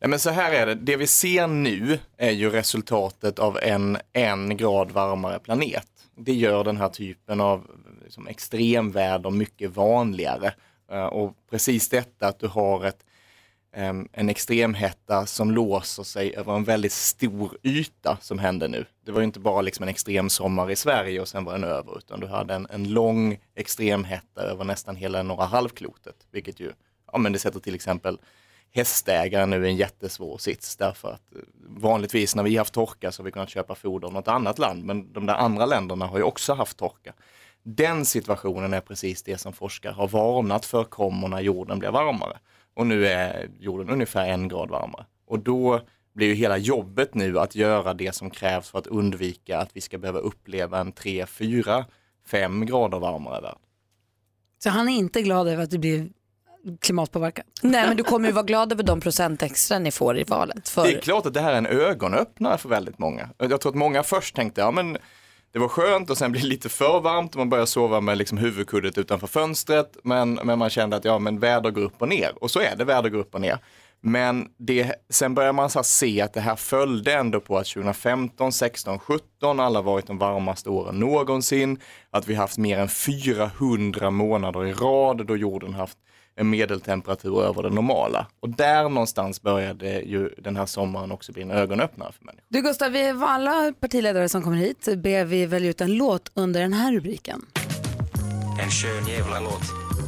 N: Nej, men så här är det, det vi ser nu är ju resultatet av en en grad varmare planet. Det gör den här typen av liksom, extremväder mycket vanligare. Eh, Och precis detta att du har ett em, en extremhetta som låser sig över en väldigt stor yta som hände nu. Det var ju inte bara liksom en extrem sommar i Sverige och sen var den över, utan du hade en, en lång extremhetta över nästan hela norra halvklotet, vilket ju, ja men det sätter till exempel hästägare nu i en jättesvår sits därför att eh, vanligtvis när vi haft torka så har vi kunnat köpa foder av något annat land, men de där andra länderna har ju också haft torka. Den situationen är precis det som forskare har varnat för kommer när jorden blir varmare. Och nu är jorden ungefär en grad varmare. Och då blir ju hela jobbet nu att göra det som krävs för att undvika att vi ska behöva uppleva en 3, 4, 5 grader varmare värld.
A: Så han är inte glad över att det blir klimatpåverkan.
O: Nej men du kommer ju vara glad över de procent extra ni får i valet. För...
N: Det är klart att det här är en ögonöppnare för väldigt många. Jag tror att många först tänkte, ja men Det var skönt och sen blev det lite för varmt och man började sova med liksom huvudkuddet utanför fönstret. Men, men man kände att ja, men väder går upp och ner och så är det, väder går upp och ner. Men det, sen börjar man så här se att det här följde ändå på att 2015, 16, 17 alla varit de varmaste åren någonsin. Att vi haft mer än 400 månader i rad då jorden haft en medeltemperatur över det normala. Och där någonstans började ju den här sommaren också bli en ögonöppnare för människor.
A: Du Gustav, vi var alla partiledare som kommer hit ber vi välja ut en låt under den här rubriken.
P: En skön jävla låt.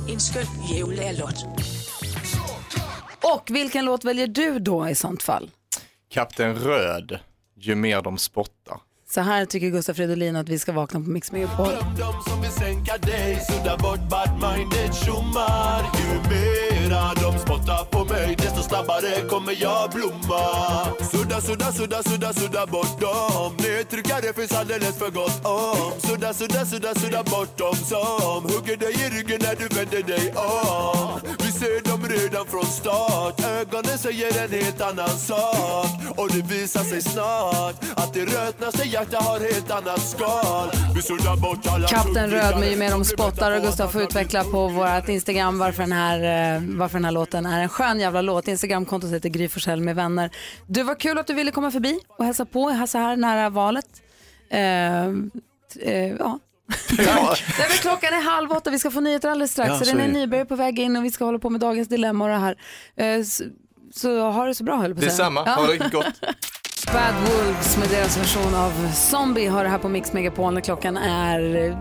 B: En skön jävla låt.
A: Och vilken låt väljer du då i sånt fall?
N: Kapten Röd, ju mer de spottar.
A: Så här tycker Gustav Fridolin att vi ska vakna på Mix Megapol.
Q: Glöm dem som vill sänka dig, sudda bort bad-minded tjommar Ju mera de spottar på mig, desto snabbare kommer jag blomma Sudda, sudda, sudda, sudda, sudda bort dem Nedtryckare finns alldeles för gott om Sudda, sudda, sudda, sudda bort dem som hugger dig i ryggen när du vänder dig om Vi ser dem redan från start, ögonen säger en helt annan sak Och det visar sig snart att det rötnaste hjärta har helt annat skal Vi suddar bort alla
A: Kapten Röd med ju mer de spottar och Gustav får utveckla på vårt Instagram varför den här, eh, varför den här låten är en skön jävla låt. Instagramkontot heter Gry Forssell med vänner. Du, var kul att du ville komma förbi och hälsa på här så här nära valet. Eh, t- eh, ja. Nej, men klockan är halv åtta, vi ska få nyheter alldeles strax.
R: Ja,
A: så
R: så
A: René
R: är det.
A: Nyberg är på väg in och vi ska hålla på med dagens dilemma och det här. Eh, så, så ha det så bra höll jag på att säga.
N: Detsamma,
A: Ja.
N: ha det riktigt gott.
A: Bad Wolves med deras version av Zombie har det här på Mix Megapol när klockan är eh,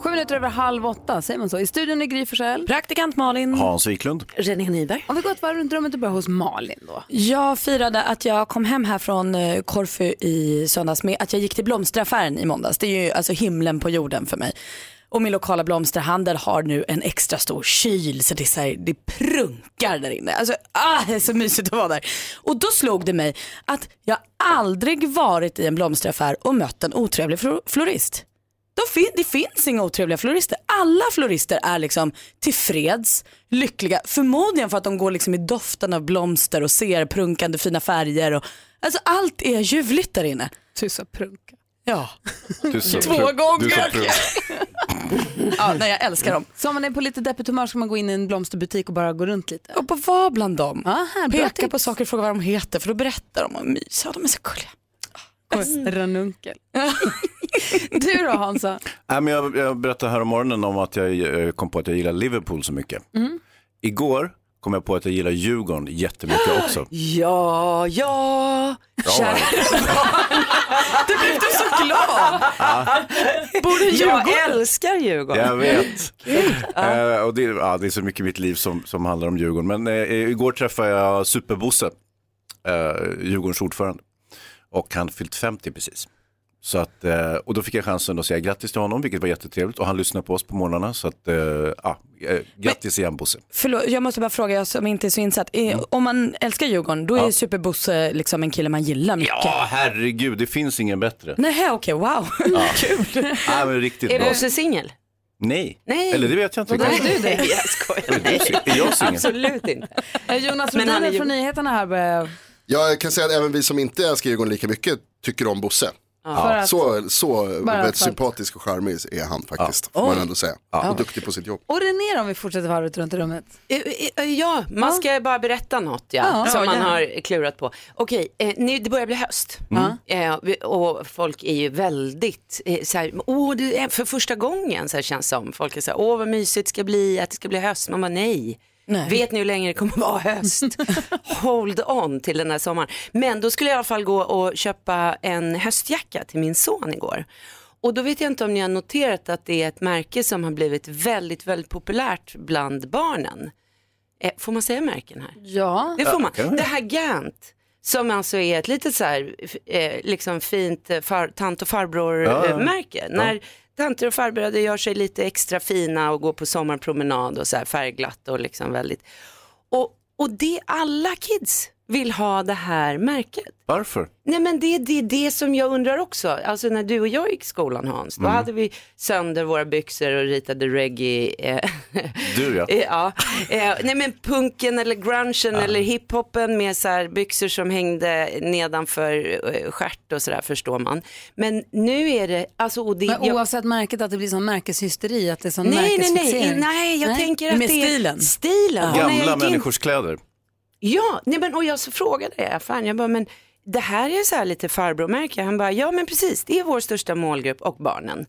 A: sju minuter över halv åtta, säger man så? I studion är Gry Forssell.
B: Praktikant Malin.
C: Hans Wiklund.
B: René Nyberg.
A: Om vi går ett varv runt rummet och börjar hos Malin då.
B: Jag firade att jag kom hem här från eh, Korfu i söndags med att jag gick till blomsteraffären i måndags. Det är ju alltså himlen på jorden för mig. Och min lokala blomsterhandel har nu en extra stor kyl så det, är så här, det prunkar där inne. Alltså, ah, det är så mysigt att vara där. Och då slog det mig att jag aldrig varit i en blomsteraffär och mött en otrevlig flo- florist. De fin- det finns inga otrevliga florister. Alla florister är liksom tillfreds, lyckliga. Förmodligen för att de går liksom i doften av blomster och ser prunkande fina färger. Och, alltså allt är ljuvligt där inne.
A: Du sa prunka.
B: Ja.
C: Du sa
B: Två
C: prunk-
B: gånger.
C: du sa prunk.
B: ja, nej, jag älskar dem.
A: Så om man är på lite deppigt humör ska man gå in i en blomsterbutik och bara gå runt lite.
B: Och på vad bland dem?
A: Aha, bra
B: Peka
A: tips.
B: på saker och fråga vad de heter för då berättar de och myser. Ja, De är så gulliga.
A: Ranunkel. du då Hansa?
C: Nej, men jag, jag berättade här om morgonen om att jag eh, kom på att jag gillar Liverpool så mycket.
A: Mm.
C: Igår kom jag på att jag gillar Djurgården jättemycket också.
B: Ja, ja,
C: Bra,
B: kära barn. Du blev du så glad.
C: Ja.
B: Borde
S: Jag älskar Djurgården.
C: Jag vet. Eh, och det, ja, det är så mycket i mitt liv som, som handlar om Djurgården. Men eh, igår träffade jag Superbosse, eh, Djurgårdens ordförande. Och han fyllt 50 precis. Så att, eh, och då fick jag chansen att säga grattis till honom, vilket var jättetrevligt. Och han lyssnar på oss på morgnarna. Så att, eh, ja, eh, grattis igen Bosse.
B: Förlåt, jag måste bara fråga, jag som inte är så insatt. Eh, Om man älskar Djurgården, då är ju Superbosse liksom en kille man gillar mycket.
C: Ja, herregud, det finns ingen bättre.
B: Nej, okej, wow.
C: Ja. Kul. Ja, men riktigt
S: Är
C: bra.
S: Bosse singel?
C: Nej.
S: Nej.
C: Eller det vet jag inte.
S: Vadå,
C: riktigt.
S: är du det?
C: Nej,
S: Jag skojar.
C: Är du singel? Är jag singel?
S: Absolut inte.
A: Eh, Jonas
S: Men han
A: Rhodiner
S: är ju-
A: från nyheterna här börjar...
H: Jag kan säga att även vi som inte älskar Djurgården lika mycket tycker om Bosse.
A: Ja. För att-
H: Så, så
A: Bara för att-
H: sympatisk och charmig är han faktiskt, får man ändå säga. Och duktig på sitt jobb.
A: Och René om vi fortsätter varvet runt i rummet.
S: Eh, Ja, man ska bara berätta något ja,
A: Ja.
S: som man
A: Ja.
S: har klurat på. Okej, eh, nu, det börjar bli höst
A: Mm.
S: eh, vi- och folk är ju väldigt, eh, så här, åh, det är för första gången så här känns det som. Folk är så här, åh vad mysigt det ska bli, att det ska bli höst. Man bara nej. Vet ni hur länge det kommer vara höst? Hold on till den här sommaren. Men då skulle jag i alla fall gå och köpa en höstjacka till min son igår. Och då vet jag inte om ni har noterat att det är ett märke som har blivit väldigt, väldigt populärt bland barnen. Eh, Får man säga märken här?
A: Ja.
S: Det får man. Det här Gant, som alltså är ett litet så här, f- eh, liksom fint eh, far, tant och
E: Ja, ja.
S: farbror-märke.
E: Ja.
S: När tanter och farbröder gör sig lite extra fina och går på sommarpromenad och så här färgglatt och liksom väldigt. Och, och det alla kids vill ha det här märket.
C: Varför?
S: Nej men det är det, det som jag undrar också. Alltså när du och jag gick i skolan Hans, då
C: Mm.
S: hade vi sönder våra byxor och ritade reggae. Eh,
C: Du ja.
S: eh, ja. Eh, nej men punken eller grungen eller hiphopen med så här byxor som hängde nedanför eh, stjärt och sådär förstår man. Men nu är det, alltså och det,
A: Men
S: jag-
A: oavsett märket, att det blir sån märkeshysteri, att det är sån
S: Nej, nej, nej,
A: märkesfixering.
S: nej, jag tänker att
A: Med
S: det är
A: stilen.
S: stilen. Och när jag
C: Gamla
S: gick in-
C: människors kläder.
S: Ja, nej men, och jag så frågade i affären, jag bara, men det här är så här lite farbrormärke. Han bara, ja men precis, det är vår största målgrupp och barnen.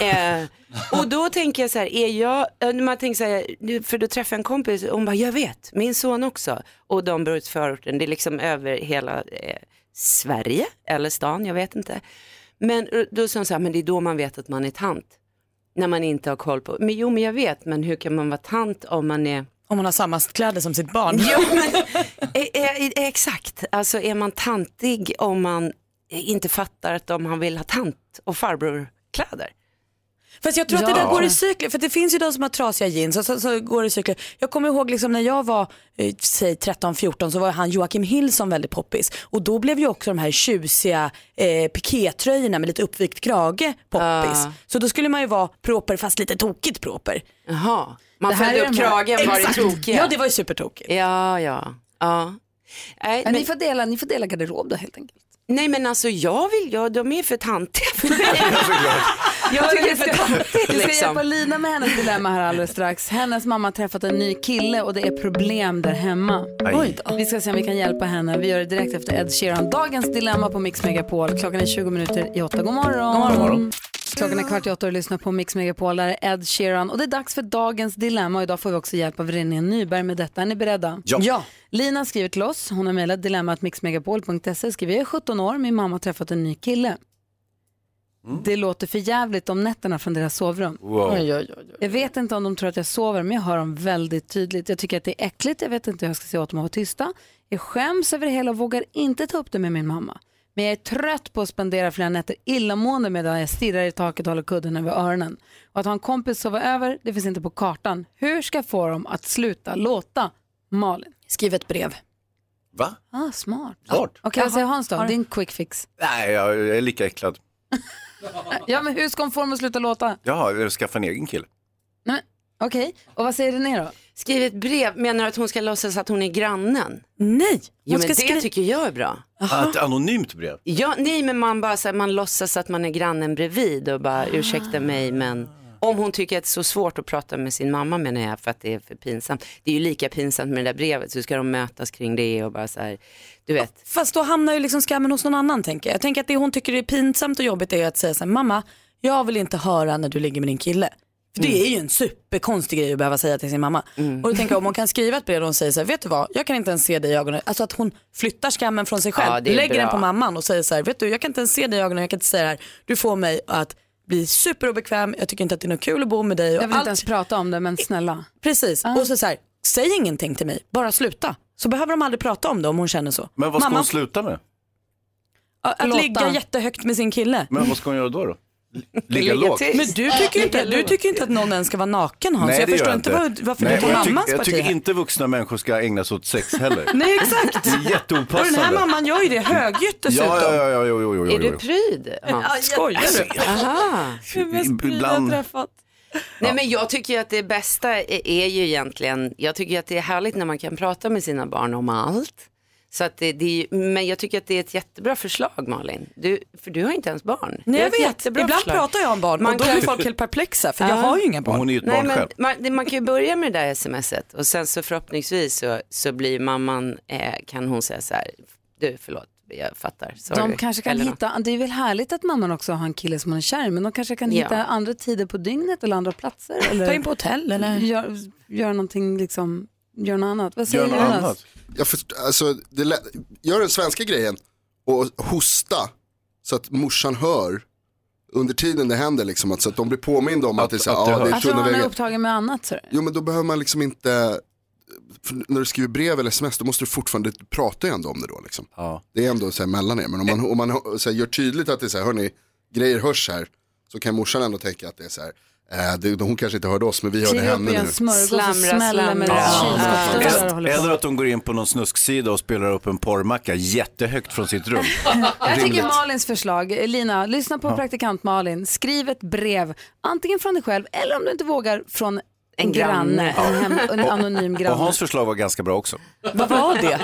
S: eh, och då tänker jag så här, är jag, eh, man tänker så här, nu- för då träffade jag en kompis och hon bara, jag vet, min son också. Och de bor i förorten, det är liksom över hela eh, Sverige eller stan, jag vet inte. Men eh, då sa hon så här, men det är då man vet att man är tant. När man inte har koll på, men jo men jag vet, men hur kan man vara tant om man är
B: Om man har samma kläder som sitt barn.
S: Eh, eh, eh, Exakt, alltså är man tantig om man eh, inte fattar att om han vill ha tant och farbrorkläder?
B: Fast jag tror att det
S: Ja.
B: där går i cykler, för det finns ju de som har trasiga jeans och så, så går det i cykler. Jag kommer ihåg liksom när jag var, eh, säg 13-14 så var han Joakim Hillson väldigt poppis. Och då blev ju också de här tjusiga eh, pikétröjorna med lite uppvikt krage poppis.
S: Ah.
B: Så då skulle man ju vara proper fast lite tokigt proper.
S: Jaha, man
B: Det här
S: följde
B: är
S: upp
B: de här-
S: kragen, var det
B: Exakt.
S: tokiga?
B: Ja, det var ju supertokigt.
S: Ja, ja. ja. Nej,
A: Men ni får dela, ni får dela garderob då helt enkelt.
S: Nej men alltså jag vill, ja, de är för tantiga för mig. jag tycker det är för tantigt
A: Vi ska hjälpa
S: liksom.
A: Lina med hennes dilemma här alldeles strax. Hennes mamma har träffat en ny kille och det är problem där hemma.
S: Aj.
A: Oj då. Vi ska se om vi kan hjälpa henne. Vi gör det direkt efter Ed Sheeran. Dagens dilemma på Mix Megapol. Klockan är 20 minuter i åtta. God morgon.
T: God morgon. God morgon.
A: Klockan är kvart i åtta och du lyssnar på Mix Megapol. Där är Ed Sheeran och det är dags för dagens dilemma. Och idag får vi också hjälp av René Nyberg med detta. Är ni beredda?
T: Ja. Ja.
A: Lina skriver till oss. Hon har mejlat dilemmatmixmegapol.se. Skriver jag är 17 år, min mamma har träffat en ny kille. Det låter för jävligt om nätterna från deras sovrum.
T: Wow. Oj, oj,
A: Jag vet inte om de tror att jag sover, men jag hör dem väldigt tydligt. Jag tycker att det är äckligt, jag vet inte hur jag ska säga åt dem att vara tysta. Jag skäms över det hela och vågar inte ta upp det med min mamma. Men jag är trött på att spendera flera nätter illamående medan jag stirrar i taket och håller kudden över öronen. Och att ha en kompis sova över, det finns inte på kartan. Hur ska jag få dem att sluta låta? Malin.
B: Skriv ett brev.
C: Va?
A: Ah, smart.
C: Klart.
A: Okej, vad säger Hans då? Din quick fix.
C: Nej, jag är lika äcklad.
A: Ja, men hur ska hon få dem att sluta låta?
C: Jaha, skaffa en egen kille.
A: Nej, men, Okej, och vad säger René då?
S: Skriv ett brev, menar du att hon ska låtsas att hon är grannen?
B: Nej,
S: jo,
C: hon
S: men
C: ska
S: det
C: skri-
S: tycker jag är bra.
C: Ett anonymt brev.
S: Ja, nej men man bara så här, man låtsas att man är grannen bredvid och bara ursäkta mig men om hon tycker att det är så svårt att prata med sin mamma menar jag för att det är för pinsamt. Det är ju lika pinsamt med det där brevet så ska de mötas kring det och bara så här, du vet.
B: Fast då hamnar ju liksom skammen hos någon annan tänker jag. Jag tänker att det hon tycker är pinsamt och jobbigt är att säga så här, mamma, jag vill inte höra när du ligger med din kille. För
A: Mm.
B: det är ju en superkonstig grej att behöva säga till sin mamma. Och då tänker jag om hon kan skriva ett brev där hon säger så här, vet du vad, jag kan inte ens se dig i ögonen. Alltså att hon flyttar skammen från sig
S: Ja,
B: själv,
S: det är
B: lägger
S: bra.
B: den på mamman och säger så här, vet du, jag kan inte ens se dig i ögonen, jag kan inte säga det här. Du får mig att bli superobekväm, jag tycker inte att det är något kul att bo med dig. Och
A: Jag vill inte ens prata om det, men snälla.
B: Precis, och så, så här, säg ingenting till mig, bara sluta. Så behöver de aldrig prata om det om hon känner så.
C: Men vad ska
B: Mamma-
C: hon sluta med?
B: Att
C: Låta.
B: ligga jättehögt med sin kille.
C: Men vad ska hon göra då? då? Ligga lågt?
B: Men du tycker, ju inte, du tycker ju inte att någon ens ska vara naken Hans. jag
C: det gör
B: förstår inte vad- varför
C: Nej,
B: du tar
C: och jag tycker-
B: mammas
C: Jag
B: parti.
C: tycker
B: här.
C: inte vuxna människor ska ägna sig åt sex heller.
B: Nej exakt.
C: Det är
B: Och den
C: jätteopassande.
B: här mamman gör ju det högljutt dessutom.
C: Ja, ja, ja, ja, jo, jo, jo, jo.
S: Är du pryd? Hans?
B: Ja, alltså, skojar du?
S: Aha.
C: Ibland.
S: Nej men jag tycker ju att det bästa är, är ju egentligen, jag tycker ju att det är härligt när man kan prata med sina barn om allt. Så att det, det är, ju- men jag tycker att det är ett jättebra förslag Malin, du, för du har inte ens barn.
B: Nej
S: Det är
B: jag
S: ett
B: vet,
S: jättebra
B: ibland
S: förslag.
B: pratar jag om barn
S: Man
B: och då
S: kan-
B: blir folk helt perplexa för jag
S: Ja.
B: har ju inga barn.
S: Nej, men Man, det- man kan ju börja med det där smset och sen så förhoppningsvis så, så blir mamman, eh, kan hon säga så här, du förlåt, jag fattar, sorry.
A: De kanske kan
S: Eller något.
A: hitta, det är väl härligt att mamman också har en kille som hon är kär i, men de kanske kan
S: Ja.
A: hitta andra tider på dygnet eller andra platser. Eller
B: Ta in på hotell eller?
A: Gör, gör någonting liksom, gör något annat. Vad säger
H: Gör något
A: Jonas?
H: annat. Jag först, alltså, det lä- gör den svenska grejen och hosta så att morsan hör under tiden det händer liksom, att, så att de blir påminda om att, det är så här,
A: att det
H: ja, det är
A: Jag tror
H: tunna
A: han är
H: vägar.
A: upptagen med annat. Så.
H: Jo men då behöver man liksom inte, för när du skriver brev eller sms då måste du fortfarande prata ju ändå om det då liksom. Det är ändå så här mellan er, men om man, om man så här, gör tydligt att det är så här, hörni, grejer hörs här, så kan morsan ändå tänka att det är så här, Eh, det, hon kanske inte hörde oss, men vi hörde
A: Kliver upp
H: henne
A: i en
H: nu.
A: smörgås och Slamra, smäller med slamra.
H: Ja.
A: kylskåpsdörrar och håller på.
C: Eller att de går in på någon snusksida och spelar upp en porrmacka jättehögt från sitt rum.
A: Jag tycker
C: Rimligt.
A: Malins förslag, eh, Lina, lyssna på
C: Ja.
A: praktikant Malin, skriv ett brev, antingen från dig själv eller om du inte vågar från en granne,
C: Ja.
A: en, hem, en anonym
C: Och
A: granne.
C: Hans förslag var ganska bra också.
A: Vad var det?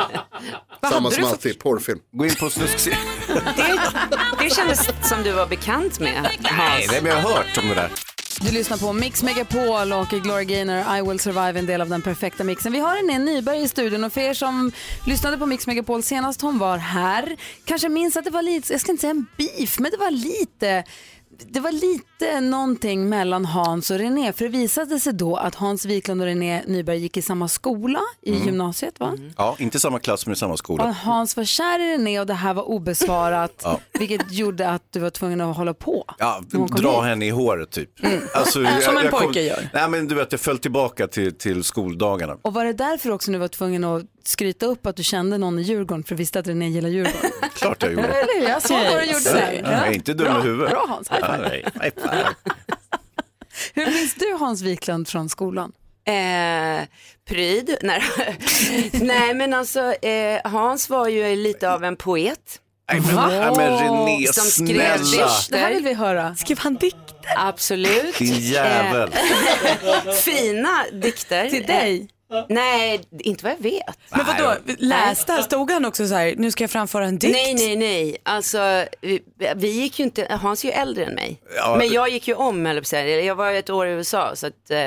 H: Samma som alltid, porrfilm.
C: Gå in på snusksidan.
S: Det, det kändes som du var bekant med.
C: Nej, det men jag har hört om det där.
A: Du lyssnar på Mix Megapol och Gloria Gaynor, I will survive, en del av den perfekta mixen. Vi har René Nyberg i studion och för er som lyssnade på Mix Megapol senast hon var här, kanske minns att det var lite, jag ska inte säga en beef, men det var lite det var lite någonting mellan Hans och René, för det visade sig då att Hans Wiklund och René Nyberg gick i samma skola i
C: Mm.
A: gymnasiet. Va?
C: Ja, inte i samma klass men i samma
A: Och
C: skola.
A: Hans var kär i René och det här var obesvarat,
C: Ja.
A: vilket gjorde att du var tvungen att hålla på.
C: Ja,
A: När hon kom
C: dra
A: hit. Mm.
C: henne i håret typ. Alltså,
A: Som en pojke gör.
C: Nej men du vet, jag föll tillbaka till, till skoldagarna.
A: Och var det därför också du var tvungen att skryta upp att du kände någon i Djurgården för du visste att René gillar Djurgården?
C: Klart jag gjorde.
A: Eller hur? Jag såg vad du gjorde där.
C: Nej, jag är inte dum i
A: Bra,
C: huvudet.
A: Bra Hans, high
C: Ja,
A: five.
C: nej, high five.
A: Hur minns du Hans Wiklund från skolan?
S: Eh, pryd. Nej, Nej men alltså eh, Hans var ju lite av en poet.
C: Nej men, nej, men René,
S: Som skrev
C: snälla.
S: dikter.
A: Det här vill vi höra.
S: Skrev han dikter? Absolut.
C: Din jävel.
S: Eh, Fina dikter.
B: Till dig?
S: Eh, Nej, inte vad jag vet.
B: Men vadå, läste han, stod han också så här, nu ska jag framföra en dikt?
S: Nej, nej, nej. Alltså, vi, vi gick ju inte, Hans är ju äldre än mig.
B: Ja.
S: men jag gick ju om, eller så här, jag var ju ett år i USA. Så att, eh,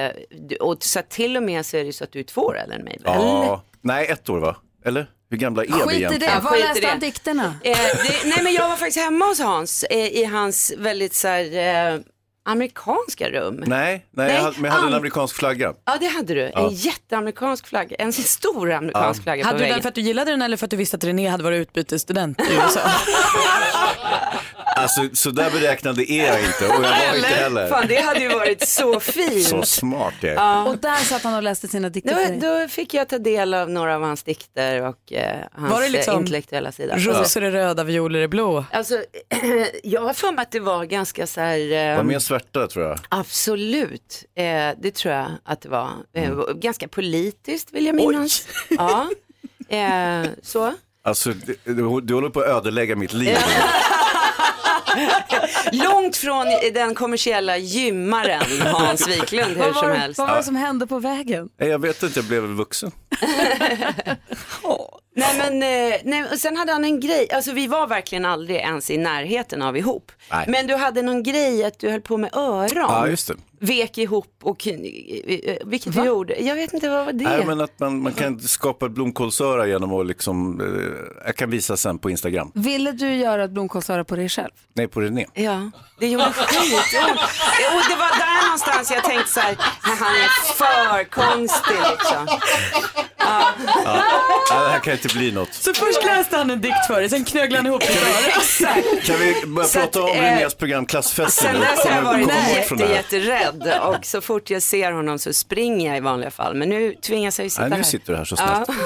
S: du- och, så att till och med så är det ju så att du är två år äldre än mig. väl?
C: Ja, nej ett år va? Eller? Hur gamla är vi egentligen?
S: Skit i det.
A: dikterna?
S: Eh, det, nej men jag var faktiskt hemma hos Hans eh, i hans väldigt så här, eh, amerikanska rum.
C: Nej, nej, jag
S: Nej,
C: hade- men jag hade en
S: an-
C: amerikansk flagga.
S: Ja det hade du,
C: Ja.
S: en jätteamerikansk flagga, en stor amerikansk
C: Ja.
S: flagga på
B: Hade du
S: väggen.
B: den för att du gillade den eller för att du visste att René hade varit utbytesstudent i USA?
C: Alltså så där beräknade är jag inte och jag var inte heller.
S: Fan det hade ju varit så fint.
C: Så smart jag är.
A: Och där satt han och läste sina dikter för dig.
S: Då, då fick jag ta del av några av hans dikter och eh, hans
B: Var det
S: eh,
B: liksom
S: intellektuella sida.
B: Rosor är röda, violer är blå.
S: Alltså, jag har för mig att det var ganska så här... eh,
C: Var mer svärta tror jag.
S: Absolut, eh, det tror jag att det var. Eh,
C: Mm.
S: Ganska politiskt vill jag minnas. Ja, eh, så.
C: Alltså du, du, du håller på att ödelägga mitt liv.
S: Långt från den kommersiella gymmaren Hans Wiklund hur
A: Vad var
S: som
A: det-
S: helst.
A: Vad var det som hände på vägen?
C: Nej, Jag vet inte, jag blev väl vuxen.
S: Nej men, eh, nej, och sen hade han en grej, alltså vi var verkligen aldrig ens i närheten av ihop.
C: Nej.
S: Men du hade någon grej att du höll på med öron.
C: Ja, just det.
S: Vek ihop och, eh, vilket vi gjorde, jag vet inte vad var det?
C: Nej, men att man, man kan skapa ett blomkålsöra genom att liksom, eh, jag kan visa sen på Instagram.
A: Ville du göra ett blomkålsöra på dig själv?
C: Nej, på René.
S: Ja, det gjorde skitont. Och det var där någonstans jag tänkte så här, han är för konstig liksom.
C: Ja. Nej, det här kan inte bli något.
B: Så först läste han en dikt för dig, sen knöglade han ihop det. Exakt.
C: Kan vi börja
S: Så
C: prata
S: att,
C: om
S: eh,
C: Renés program Klassfesten?
S: Sen
C: nu?
S: dess har jag
C: Kommer-
S: varit
C: kommer bort från
S: jätte,
C: det här.
S: jätterädd och så fort jag ser honom så springer jag i vanliga fall. Men nu tvingas jag ju sitta
C: Nej, nu
S: här.
C: sitter du här så snabbt.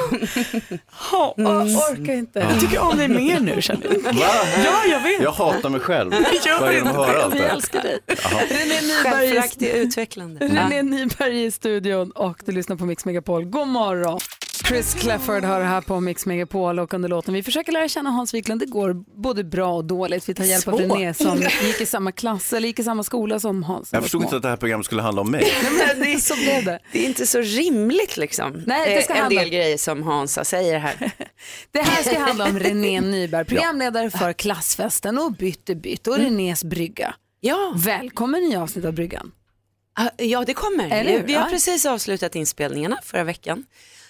B: Ja,
A: orkar inte.
B: Jag tycker om dig mer nu känner jag. Ja, jag vet.
C: Jag hatar mig själv. Vad är det att höra allt det här?
A: dig.
C: Jaha.
A: René
S: Självförakt är
A: Nyberg,
S: utvecklande.
A: René Nyberg i studion och du lyssnar på Mix Megapol. God morgon! Chris Clefford hör här på Mix Megapol och under låten vi försöker lära känna Hans Wiklund. Det går både bra och dåligt. Vi tar hjälp av
B: Så.
A: René som gick i samma klass eller gick i samma skola som Hans.
C: Jag förstod inte att det här programmet skulle handla om mig.
S: det, är,
A: Så blev det.
S: det är inte så rimligt liksom.
A: Nej, det ska
S: Eh, en
A: handla-
S: del grejer som Hansa säger här.
A: Det här ska handla om René Nyberg, programledare för Klassfesten och Bytt är bytt och
C: Mm.
A: Renés brygga.
S: Ja.
A: Välkommen i avsnitt av bryggan.
S: Ah, Ja, det kommer.
A: Eller hur?
S: vi har
A: Ja.
S: precis avslutat inspelningarna förra veckan.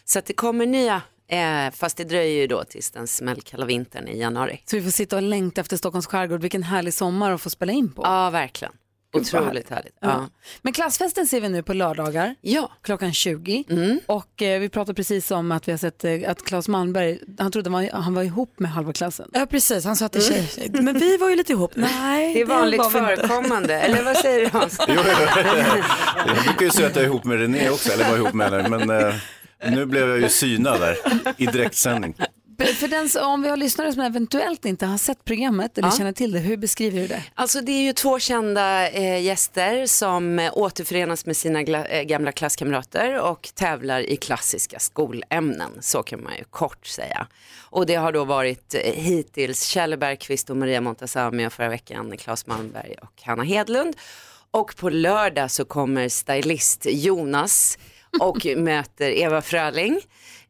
S: Så att det kommer nya, eh, fast det dröjer ju då tills den smällkalla vintern i januari.
A: Så vi får sitta och längta efter Stockholms skärgård. Vilken härlig sommar att få spela in på.
S: Ja, verkligen.
A: Gud, vad
S: Otroligt härligt.
A: Ja.
S: Ja.
A: Men klassfesten ser vi nu på lördagar
S: ja. Mm.
A: klockan 20. Och eh, vi pratade precis om att vi har sett eh, att Claes Malmberg, han trodde han var, han var ihop med halva klassen.
B: Ja precis, han sa till tjej. Men vi var ju lite ihop. Nej,
S: Mm. Det är vanligt
B: var vi inte.
S: förekommande, eller vad säger du Hans?
C: Jo, Jag brukar ju säga att jag är ihop med René också, eller var ihop med henne, men eh, nu blev jag ju synad där i direktsändning.
A: För den, som- om vi har lyssnare som eventuellt inte har sett programmet eller
S: Ja.
A: känner till det, hur beskriver du det?
S: Alltså det är ju två kända eh, gäster som eh, återförenas med sina gla- eh, gamla klasskamrater och tävlar i klassiska skolämnen, så kan man ju kort säga. Och det har då varit eh, hittills Kjell Bergqvist och Maria Montazami och förra veckan Claes Malmberg och Hanna Hedlund. Och på lördag så kommer stylist Jonas och möter Eva Fröling,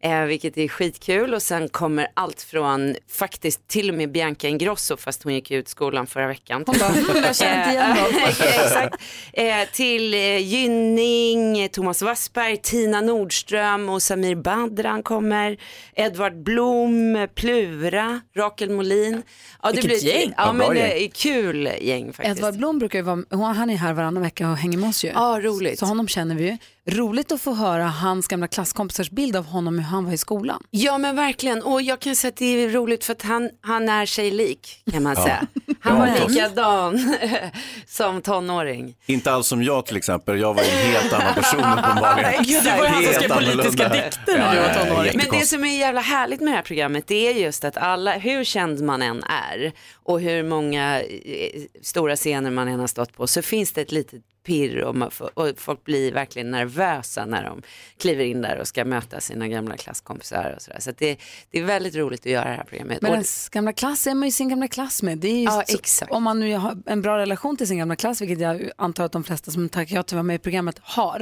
S: eh, vilket är skitkul. Och sen kommer allt från, faktiskt till och med Bianca Ingrosso, fast hon gick ut skolan förra veckan. Hon bara,
A: "Mm, jag känner inte igen dem."
S: Exakt. Eh, till eh, Gynning, Thomas Wassberg, Tina Nordström och Samir Badran kommer. Edvard Blom, Plura, Rakel Molin. Ja,
A: Vilket
S: ett-
A: gäng.
S: Ja,
A: Vad bra
S: men det
A: gäng.
S: är kul gäng faktiskt.
A: Edvard Blom brukar ju vara, hon- han är här varannan vecka och hänger med oss ju.
S: Ja, roligt.
A: Så honom känner vi ju. Roligt att få höra hans gamla klasskompisars bild av honom hur han var i skolan.
S: Ja men verkligen, och jag kan säga att det är roligt för att han, han är sig lik kan man
C: Ja.
S: säga. Han var likadan som tonåring.
C: Inte alls som jag till exempel, jag var en helt annan person uppenbarligen.
S: Gud, det var ju han som
C: Helt
S: skrev politiska
C: annorlunda.
S: dikter när du var
C: Ja, ja, ja,
S: Men det
C: jättekonstigt.
S: som är jävla härligt med det här programmet det är just att alla, hur känd man än är och hur många eh, stora scener man än har stått på så finns det ett litet pirr och, man får, och folk blir verkligen nervösa när de kliver in där och ska möta sina gamla klasskompisar och sådär. Så att det, det är väldigt roligt att göra det här programmet.
A: Men
S: Och-
A: ens gamla klass är man ju sin gamla klass med. Det är ju
S: Ja,
A: så-
S: exakt.
A: Om man nu har en bra relation till sin gamla klass, vilket jag antar att de flesta som tackar ja till att vara med i programmet har,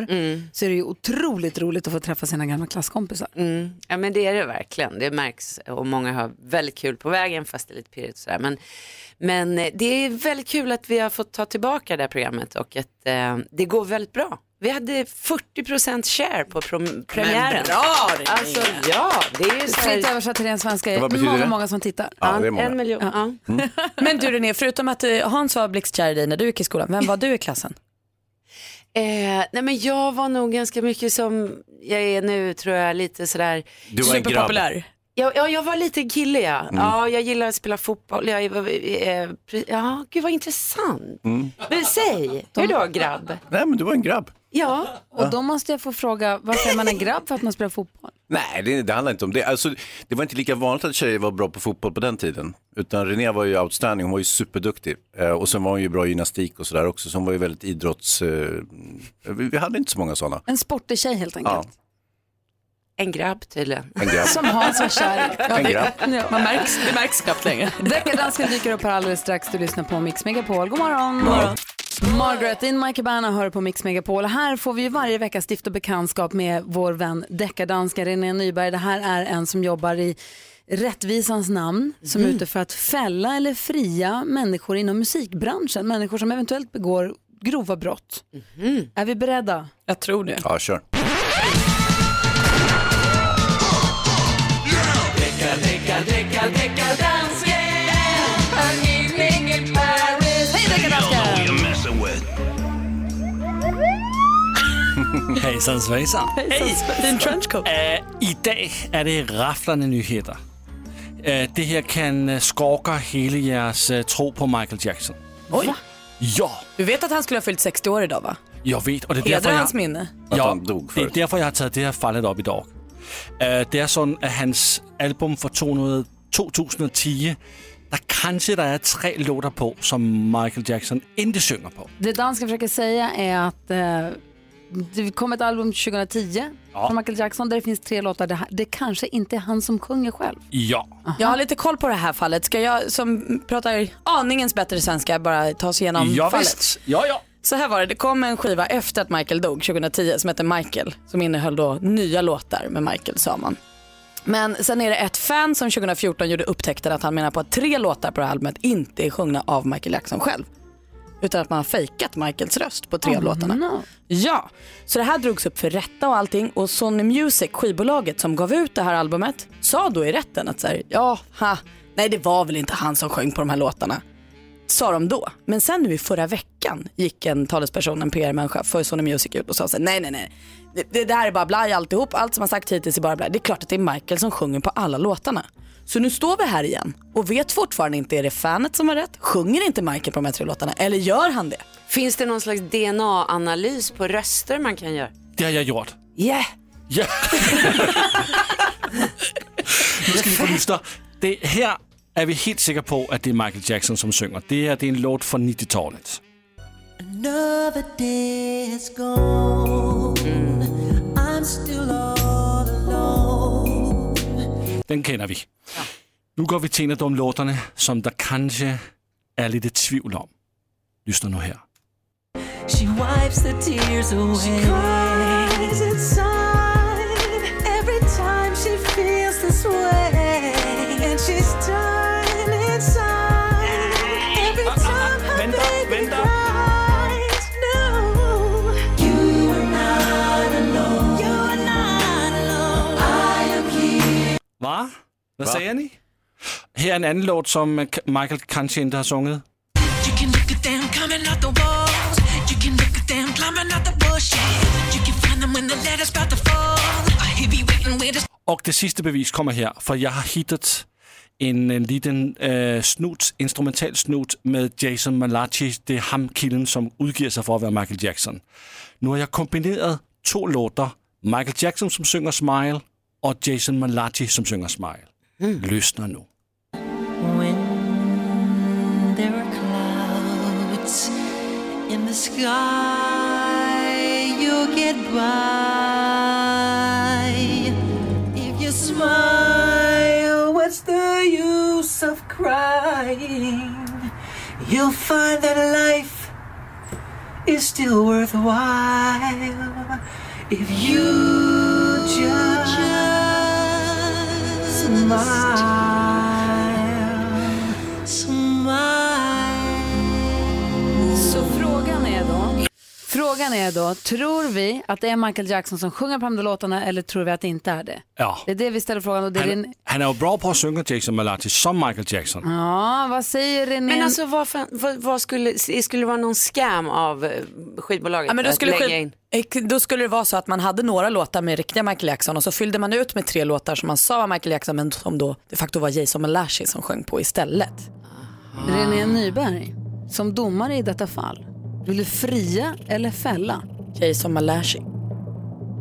A: så är det ju otroligt roligt att få träffa sina gamla klasskompisar.
S: Mm. Ja men det är det verkligen, det märks och många har väldigt kul på vägen fast det är lite pirrigt och sådär. Men, men eh, det är väldigt kul att vi har fått ta tillbaka det här programmet och att eh, det går väldigt bra. Vi hade 40% share på prom- premiären.
A: bra,
S: det Alltså ja, det är ju så
A: Fritt
S: här,
A: översatt till ren svenska
S: Vad
A: är
S: betyder
A: många,
S: det?
A: många som tittar.
S: Ja, det är många. en miljon,
U: Mm.
B: Men du René, förutom att eh, Hans var blixtkär i dig när du gick i skolan, vem var du i klassen?
S: eh, nej men jag var nog ganska mycket som jag är nu tror jag, lite sådär
B: Du var en grabb. Superpopulär.
S: Ja, ja, jag var lite kille ja.
B: Mm.
S: Ja, jag gillar att spela fotboll. Jag, var- eh, pre- ja, gud vad intressant.
C: Mm.
S: Men säg, hur då grabb?
C: Nej, men du var en grabb.
S: Ja.
A: Och då måste jag få fråga, varför är man en grabb för att man spelar fotboll?
C: Nej, det, det handlar inte om det. Alltså, det var inte lika vanligt att tjejer var bra på fotboll på den tiden. Utan René var ju outstanding, hon var ju superduktig. Eh, och sen var hon ju bra i gymnastik och sådär också. Så hon var ju väldigt idrotts... Eh, vi, vi hade inte så många sådana.
A: En sportig tjej helt enkelt.
C: Ja,
S: En grabb tydligen.
C: en grabb.
A: Som Hans var kär i.
C: En grabb.
A: Ja.
B: Man märks, det märks knappt längre.
A: Deckardansken dyker upp här alldeles strax. Du lyssnar på Mix Megapol. God morgon!
B: God morgon.
A: Margaret in Mike Cabana hör på Mix Megapol. Här får vi ju varje vecka stifta bekantskap med vår vän deckardansken René Nyberg. Det här är en som jobbar i rättvisans namn som
B: Mm.
A: är ute för att fälla eller fria människor inom musikbranschen. Människor som eventuellt begår grova brott.
B: Mm-hmm.
A: Är vi beredda?
B: Jag tror det.
C: Ja, kör.
U: Hejsan svejsan.
B: Hej, din trenchcoat.
U: Eh, I dag är det rafflande nyheter. Øh, Det här kan øh, skorka hela jeres øh, tro på Michael Jackson.
B: Oj.
U: Ja,
B: Du vet att han skulle ha fyllt 60 år idag va?
U: jag vet. Och det är
B: Hedrar
U: därför jag...
B: hans minne.
U: Ja, det är därför jag har tagit det här fallet upp idag. Øh, Det är sådan att hans album från 200 2010, där kanske det är tre låtar på som Michael Jackson inte sjunger på.
A: Det dansken försöker säga är att eh, det kom ett album 2010
U: Ja.
A: från Michael Jackson där det finns tre låtar. Det, här, det kanske inte är han som sjunger själv.
U: Ja.
B: Jag har lite koll på det här fallet. Ska jag som pratar aningens bättre svenska bara ta oss igenom
U: Ja,
B: fallet?
U: visst. Ja, ja.
B: Så här var det, det kom en skiva efter att Michael dog 2010 som hette Michael som innehöll då nya låtar med Michael sa man. Men sen är det ett fan som 2014 gjorde upptäckten att han menar på att tre låtar på det här albumet inte är sjungna av Michael Jackson själv. Utan att man har fejkat Michaels röst på tre av låtarna. Ja, så det här drogs upp för rätta och allting och Sony Music, skivbolaget som gav ut det här albumet, sa då i rätten att så här, ja, ha, nej det var väl inte han som sjöng på de här låtarna. Sa de då. Men sen nu i förra veckan gick en talesperson, en PR-människa för Sony Music ut och sa så här, nej nej nej, det, det där är bara blaj alltihop, allt som har sagts hittills är bara blaj. Det är klart att det är Michael som sjunger på alla låtarna. Så nu står vi här igen och vet fortfarande inte, är det fanet som har rätt? Sjunger inte Michael på de här tre låtarna? Eller gör han det?
S: Finns det någon slags DNA-analys på röster man kan göra?
U: Det har jag gjort.
S: Yeah!
U: Ja. Nu skal vi få lyster. Det her er vi helt sikre på, at det er Michael Jackson, som synger. Det her det er en låt fra 90-tallet.
I: Another day is gone. I'm still all alone.
U: Den kender vi. Nu går vi til en af de låterne, som der kanskje er lidt i tvivl om. Lyster nu her.
I: She wipes the tears away. She cries inside every time she feels this way. And she's done inside every time her baby cries. No, you are not alone. You are not alone. I am here.
U: Hvad? Hvad sagde Annie? Her er en anden låt, som øh, Michael kanskje ikke har sunget.
I: You can look at them coming out the walls. You can look at them climbing out the bushes. You can find them when the letter's about to fall. I hear be waiting with a
U: Og det sidste bevis kommer her, for jeg har hittet en, en liten øh, snut, instrumental snut med Jason Malachi. Det er ham kilden, som udgiver sig for at være Michael Jackson. Nu har jeg kombineret to låter. Michael Jackson, som synger Smile, og Jason Malachi, som synger Smile. Mm. Løsner nu.
I: There are clouds in the sky. You'll get by if you smile. What's the use of crying? You'll find that life is still worthwhile if you just smile.
A: Så frågan är då... Frågan är då, tror vi att det är Michael Jackson som sjunger på de där låtarna eller tror vi att det inte är det?
U: Ja.
A: Det är det vi ställer frågan och det är din...
U: Han, han er jo bra på at synge Jason Malachi som Michael Jackson.
A: Ja, vad säger René?
S: Men alltså vad, fan, vad, vad skulle, skulle det vara någon scam av eh, skivbolaget?
B: Ja, men då,
S: att
B: skulle
S: lägga
B: skil-
S: in?
B: Ek- då skulle det vara så att man hade några låtar med riktiga Michael Jackson och så fyllde man ut med tre låtar som man sa var Michael Jackson men som då de facto var Jason Malachi som sjöng på istället.
A: René Nyberg, som domare i detta fall, vill du fria eller fälla?
B: Jason Malachi.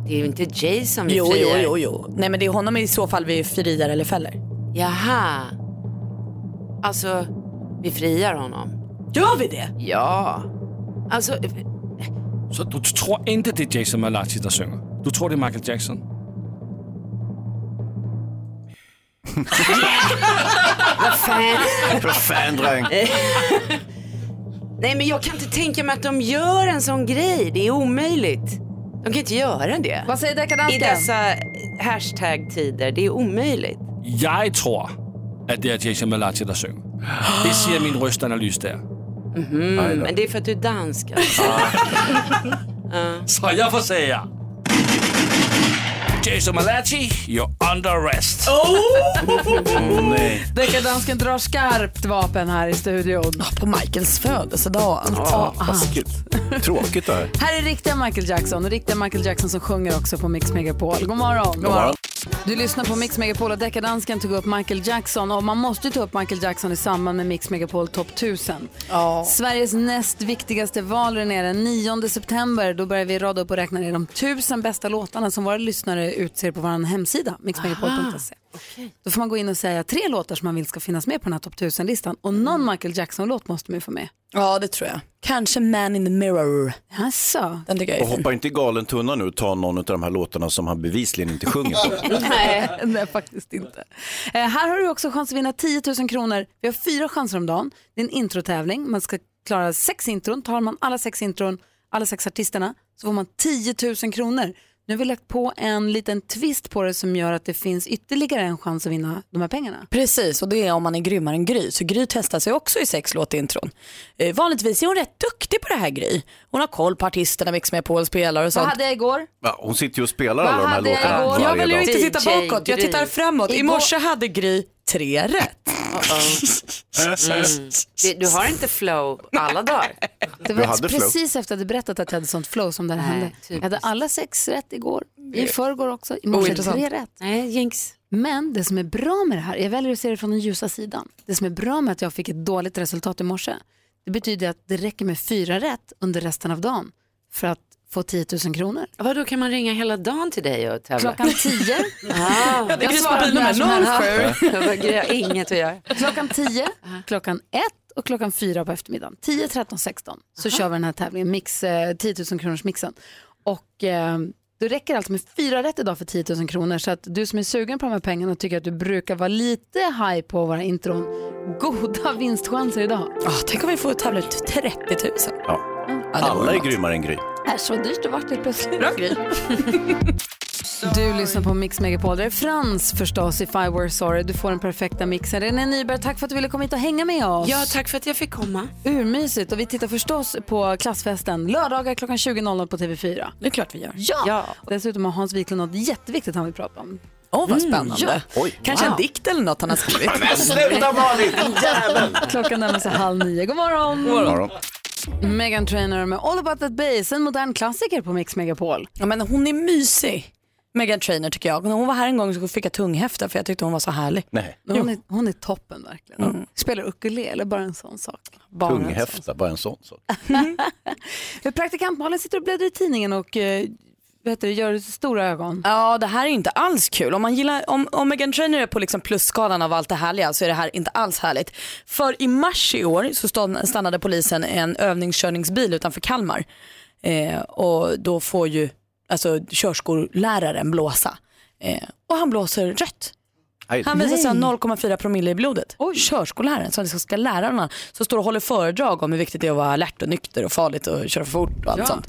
S: Det är ju inte Jason vi
B: Jo, jo,
S: friar.
B: jo, jo. Nej men det är honom i så fall vi friar eller fäller.
S: Jaha. Alltså, vi friar honom.
B: Gör vi det?
S: Ja. Alltså,
U: Så du tror ikke, det er Jason Malachi, der synger? Du tror, det er Michael Jackson?
S: vad fan.
C: För fan, dreng.
S: Nej, men jag kan inte tänka mig att de gör en sån grej. Det är omöjligt. De kan inte göra det.
A: Vad säger
S: I
A: deckardansken?
S: dessa hashtag-tider. Det är omöjligt.
B: Mm.
U: Jeg tror, at det er Jason Malachi, der synger. Det siger min røstanalyse der.
S: Mhm,
U: Nej då.
S: men det är för att du är dansk. Alltså.
U: Så jeg får sige jer. Jason Malachi, you're under arrest.
C: Åh, nej.
A: Deckardansken drar skarpt vapen här i studion.
B: på Michaels födelsedag.
A: Ja,
C: Tråkigt. Tråkigt det här.
A: Här är riktiga Michael Jackson och riktiga Michael Jackson som sjunger också på Mix Megapol. God morgon.
C: God morgon.
A: Du lyssnar på Mix Megapol och deckardansken tog upp Michael Jackson och man måste ju ta upp Michael Jackson i samband med Mix Megapol Top 1000. Sveriges näst viktigaste val är nere. den 9 september. Då börjar vi rada upp och räkna ner de 1000 bästa låtarna som våra lyssnare utser på vår hemsida mixmegapol.se. Då får man gå in och säga tre låtar som man vill ska finnas med på den här Top 1000-listan och någon Michael Jackson-låt måste man ju få med.
B: Mm. Ja, det tror jag. Kanske Man in the Mirror.
A: Jaså?
B: Den tycker jag
C: Och
B: är fin.
C: hoppa inte i galen tunna nu och ta någon av de här låtarna som han bevisligen inte sjunger på.
A: nej, nej, faktiskt inte. Eh, här har du också chans att vinna 10 000 kronor. Vi har fyra chanser om dagen. Det är en introtävling. Man ska klara sex intron. Tar man alla sex intron, alla sex artisterna, så får man 10 000 kronor. Nu har vi lagt på en liten twist på det som gör att det finns ytterligare en chans att vinna de här pengarna.
B: Precis, och det är om man är grymmare än Gry. Så Gry testar sig också i sex låtintron. Eh, vanligtvis är hon rätt duktig på det här Gry. Hon har koll på artisterna, Mix med på spelar och
A: Vad
B: sånt.
A: hade jag igår?
C: Ja, hon sitter ju och spelar
A: Vad
C: alla de här
A: hade jag
C: låtarna
A: igår?
B: Jag
C: varje
B: vill ju
C: dag.
B: inte titta
A: DJ
B: bakåt, jag
A: Gry.
B: tittar framåt. I
A: Igår-
B: morse hade Gry tre rätt.
S: Mm. Du, du har inte flow alla dagar.
A: Det
S: Du
A: var
S: hade flow.
A: precis efter att jag hade berättat att jag hade sånt flow som det här hände. Jag hade alla sex rätt igår, i förrgår också, i morse
S: Ointressant.
A: tre rätt.
S: Nej, jinx.
A: Men det som är bra med det här, jag väljer att se det från den ljusa sidan. Det som är bra med att jag fick ett dåligt resultat i morse, det betyder att det räcker med fyra rätt under resten av dagen för att få 10 000 kronor.
S: Vadå, kan man ringa hela dagen till dig och tävla?
A: Klockan 10.
S: Ah,
A: Jag svarar när som helst.
S: Jag bara, "Gry, jag har inget att göra.
A: Klockan 10, klockan 1 och klockan 4 på eftermiddagen. 10, 13, 16 så kör vi den här tävlingen, mix, eh, 10 000 kronors mixen. Och eh, det räcker alltså med fyra rätt idag för 10 000 kronor. Så att du som är sugen på de här pengarna och tycker att du brukar vara lite high på våra intron, goda vinstchanser idag.
B: tänk om vi får tävla ut 30 000.
C: Ja.
A: Ja, det vore
C: Alla är
A: något.
C: grymmare än Gry.
A: Är så dyrt det vart helt plötsligt. Bra grej. Du lyssnar på Mix Megapol. Det är Frans förstås, If I Were Sorry. Du får den perfekta mixen. René Nyberg, tack för att du ville komma hit och hänga med oss.
S: Ja, tack för att jag fick komma.
A: Urmysigt. Och vi tittar förstås på klassfesten lördagar klockan 20.00 på TV4.
B: Det är klart vi gör.
A: Ja! Och dessutom har Hans Wiklund något jätteviktigt han vill prata om. Mm.
B: Åh, vad spännande.
A: Oj.
B: Kanske
A: Wow.
B: en dikt eller något han har skrivit.
A: Men sluta, Malin, din
B: jävel!
A: Klockan närmar sig halv nio. God morgon!
B: God morgon.
A: Megan Trainor med All about that bass, en modern klassiker på Mix Megapol.
B: Ja, men hon är mysig, Megan Trainor tycker jag. När hon var här en gång så fick jag tunghäfta för jag tyckte hon var så härlig. Mm.
C: Nej.
A: Hon är, hon är toppen verkligen. Spelar ukulele, bara en sån sak. Bara en sån
C: Tunghäfta, bara en sån sak.
A: Praktikant Malin sitter och bläddrar i tidningen och eh, vad heter det, gör stora ögon.
B: Ja, det här är inte alls kul. Om, man gillar, om, om Megan Trainor är på liksom plusskalan av allt det härliga så är det här inte alls härligt. För i mars i år så stod- stannade polisen en övningskörningsbil utanför Kalmar. Eh, och då får ju alltså, körskolläraren blåsa. Eh, och han blåser rött. Han visar sig ha 0,4 promille i blodet. Körskolläraren som liksom ska lära någon annan, som står och håller föredrag om hur viktigt det är att vara alert och nykter och farligt och köra för fort och allt
A: Ja.
B: sånt.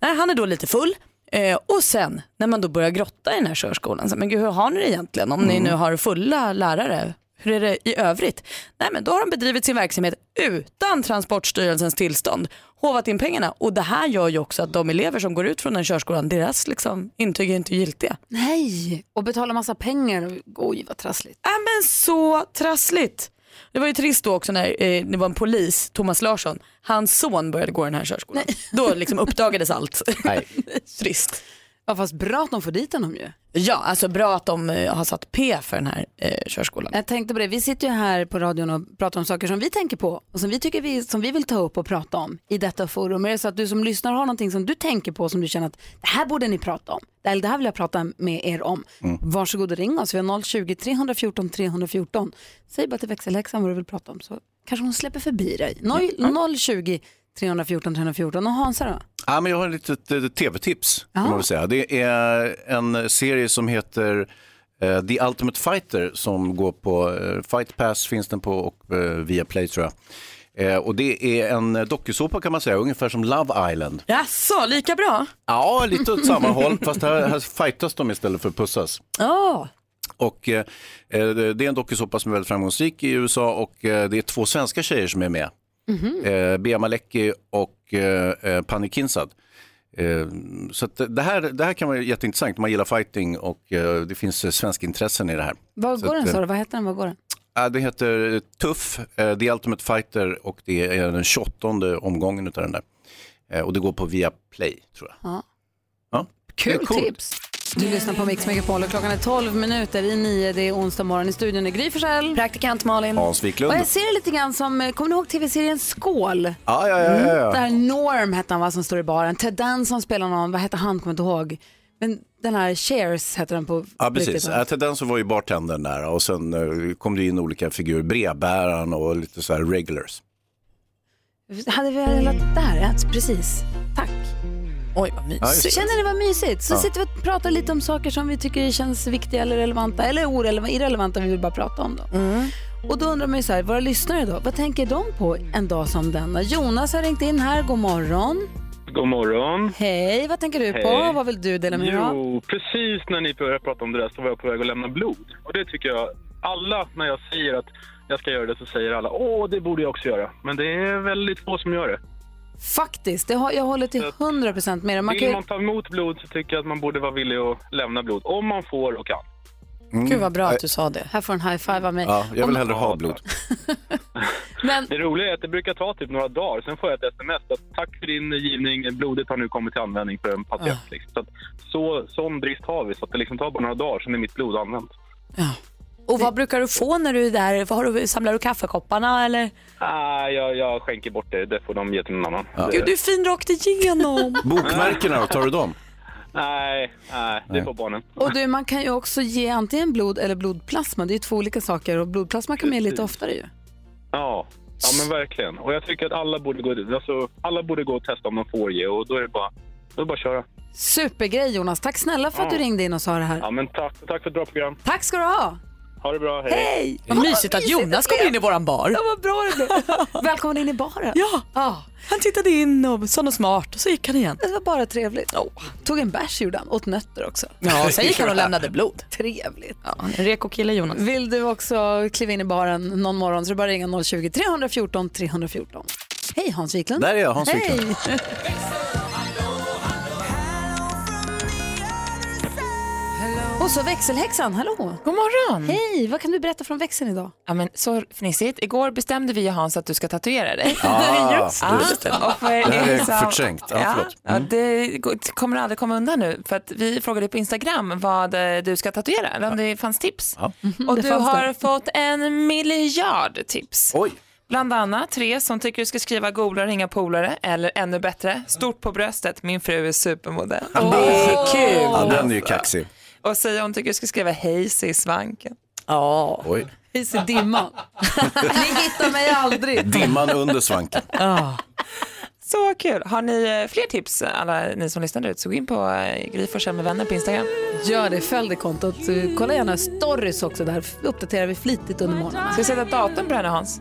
B: Nej, han är då lite full eh, och sen när man då börjar grotta i den här körskolan, så, men gud hur har ni det egentligen om
A: Mm.
B: ni nu har fulla lärare? Hur är det i övrigt? Nej men då har de bedrivit sin verksamhet utan Transportstyrelsens tillstånd, håvat in pengarna och det här gör ju också att de elever som går ut från den körskolan, deras liksom, intyg är inte giltiga.
A: Nej, och betalar massa pengar. Oj, vad trassligt.
B: Ja men så trassligt. Det var ju trist då också när eh, det var en polis, Thomas Larsson, hans son började gå i den här körskolan. Då liksom uppdagades allt. trist.
A: Ja, fast bra att de får dit honom ju.
B: Ja, alltså bra att de eh, har satt P för den här eh, körskolan.
A: Jag tänkte på det, vi sitter ju här på radion och pratar om saker som vi tänker på och som vi tycker vi, som vi vill ta upp och prata om i detta forum. Är det så att du som lyssnar har någonting som du tänker på som du känner att det här borde ni prata om, det här, det här vill jag prata med er om.
C: Mm.
A: Varsågod och ring oss, vi har 020 314 314. Säg bara till växelhäxan vad du vill prata om så kanske hon släpper förbi dig. 020 314 314 och Hansa då?
C: Ja, men jag har ett litet eh, tv-tips. Kan
A: Ja.
C: man väl säga. Det är en serie som heter eh, The Ultimate Fighter som går på eh, Fight Pass finns den på och eh, via Play tror jag. Eh, och det är en eh, dokusåpa kan man säga, ungefär som Love Island.
B: Jaså, lika bra?
C: Ja, lite åt samma håll, fast här, här fightas de istället för att pussas.
A: Ja.
C: Och eh, eh, det är en dokusåpa som är väldigt framgångsrik i USA och eh, det är två svenska tjejer som är med.
A: Mhm.
C: Eh, Bea Malecki och eh, eh, Pani Kinsad. Eh, så att det, här, det här kan vara jätteintressant om man gillar fighting och eh, det finns eh, svenska intressen i det här.
A: Vad
C: Så
A: går
C: att,
A: den
C: eh,
A: sa du? Vad heter den? Vad går den?
C: Ja, det heter Tuff, eh, The Ultimate Fighter och det är den 28 omgången utav den där. Eh, Och det går på Viaplay tror jag.
A: Ja.
C: Ja. Eh, Det är
A: Kul
C: coolt.
A: tips. Du lyssnar på Mix Megapol och klockan är 12 minuter i 9. Det är onsdag morgon. I studion är Gry Forssell.
B: Praktikant Malin.
C: Hans Wiklund.
A: Och jag ser det lite grann som, eh, kommer ni ihåg tv-serien Skål? Mm,
C: Ja, ja, ja, ja, ja.
A: Där Norm hette han va, som står i baren. Ted Danson spelar någon, vad hette han, kommer inte ihåg. Men den här Cheers hette den på
C: Ja, precis.
A: riktigt, va?
C: Ja, till den så var ju bartendern där och sen eh, kom det in olika figurer, brevbäraren och lite så här regulars.
A: Hade vi velat där, ja, precis. Tack.
B: Oj, vad
C: Ja, just det.
A: Känner ni vad mysigt? Så
C: Ja.
A: sitter vi och pratar lite om saker som vi tycker känns viktiga eller relevanta, eller orelevanta, irrelevanta, vi vill bara prata om dem.
B: Mm.
A: Och då undrar man ju så här, våra lyssnare då, vad tänker de på en dag som denna? Jonas har ringt in här, god morgon.
V: God morgon.
A: Hej, vad tänker du på?
V: Hej.
A: Vad vill du dela med dig av?
V: Jo, precis när ni började prata om det där så var jag på väg att lämna blod. Och det tycker jag, alla när jag säger att jag ska göra det så säger alla åh, det borde jag också göra. Men det är väldigt få som gör det.
A: Faktiskt, det har, jag håller till 100% med dig. Man kan
V: Vill
A: ju,
V: man ta emot blod så tycker jag att man borde vara villig att lämna blod. Om man får och kan.
B: Gud vad bra att du sa det.
A: här får en high five av mig. Om-
C: ha blod.
V: Det roliga är att det brukar ta typ några dagar, sen får jag ett sms att tack för din givning, blodet har nu kommit till användning för en patient.
A: Ah.
V: Liksom. Så, att, så sån brist har vi, så att det liksom tar bara några dagar, sen är mitt blod använt.
O: Och vad brukar du få när du är där? Vad har du, samlar du kaffekopparna eller?
V: Ah, jag, jag skänker bort det, det får de ge till någon annan. Det-
O: Gud, du är fin rakt igenom.
C: Bokmärkena då, tar du dem?
V: Nej, nej, det får barnen.
A: Och du, man kan ju också ge antingen blod eller blodplasma. Det är ju två olika saker och blodplasma kan man ge lite oftare ju.
V: Ja. ja, men verkligen. Och jag tycker att alla borde gå, alltså, alla borde gå och testa om de får ge och då är det bara, då är det bara att köra.
A: Supergrej Jonas. Tack snälla för att du
V: Ja.
A: ringde in och sa det här.
V: Ja, men tack, tack för ett bra program.
A: Tack ska du ha.
V: Ha det bra, hej!
A: Hej!
B: Vad mysigt att Jonas kom in i våran bar.
A: Ja, vad bra det blev. Välkommen in i baren.
B: Ja, han tittade in och sa något smart och så gick han igen.
A: Det var bara trevligt. Tog en bärs gjorde han, åt nötter också.
B: Ja, sen gick han och lämnade blod.
A: Trevligt.
B: Ja, han är en reko kille Jonas.
A: Vill du också kliva in i baren någon morgon så är det bara att ringa 020-314 314. Hej Hans Wiklund.
C: Där är jag, Hans
A: Hej.
C: Wiklund.
A: Och så växelhäxan, hallå.
R: God morgon!
A: Hej, vad kan du berätta från växeln idag?
R: Ja, men så fnissigt. Igår bestämde vi ju Hans att du ska tatuera dig.
C: Ah, just det.
R: och för er
C: Det här är
R: som-
C: förträngt. Ja,
R: Ja,
C: förlåt. Mm.
R: ja, det går- det kommer aldrig komma undan nu. För att vi frågade på Instagram vad eh, du ska tatuera, eller om det fanns tips.
C: Ja.
R: Och
I: det
R: du
I: fanns
R: har
I: det.
R: fått en miljard tips. Bland annat tre som tycker du ska skriva golare, inga polare eller ännu bättre, stort på bröstet, min fru är supermodell.
C: Ja, den är ju kaxig.
R: Och säga hon tycker du ska skriva hejs i svanken.
B: Ja.
C: Oj.
A: Hejs i dimman. Ni hittar mig aldrig. Ah.
C: Dimman under svanken.
R: Så kul. Har ni eh, fler tips, alla ni som lyssnar ut, så gå in på eh, Gry Forssell med vänner på Instagram.
A: Gör det, följ det kontot. Eh, Kolla gärna stories också, där uppdaterar vi flitigt under morgonen.
R: Ska vi sätta datum på det här nu Hans?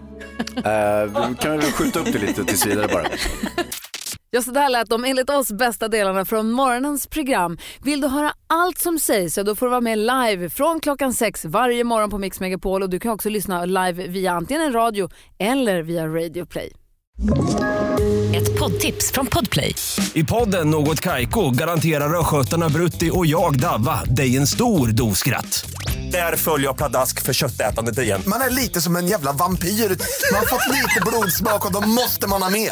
C: Eh, kan vi väl skjuta upp det lite tills vidare bara.
A: Ja, så där lät de enligt oss bästa delarna från morgonens program. Vill du höra allt som sägs så då får du vara med live från klockan sex varje morgon på Mix Megapol och du kan också lyssna live via antingen en radio eller via Radio Play.
W: Ett poddtips från Podplay.
X: I podden Något Kaiko garanterar östgötarna Brutti och jag, Davva, dig en stor dos skratt. Där följer jag pladask för köttätandet igen.
Y: Man är lite som en jävla vampyr. Man har fått lite blodsmak och då måste man ha mer.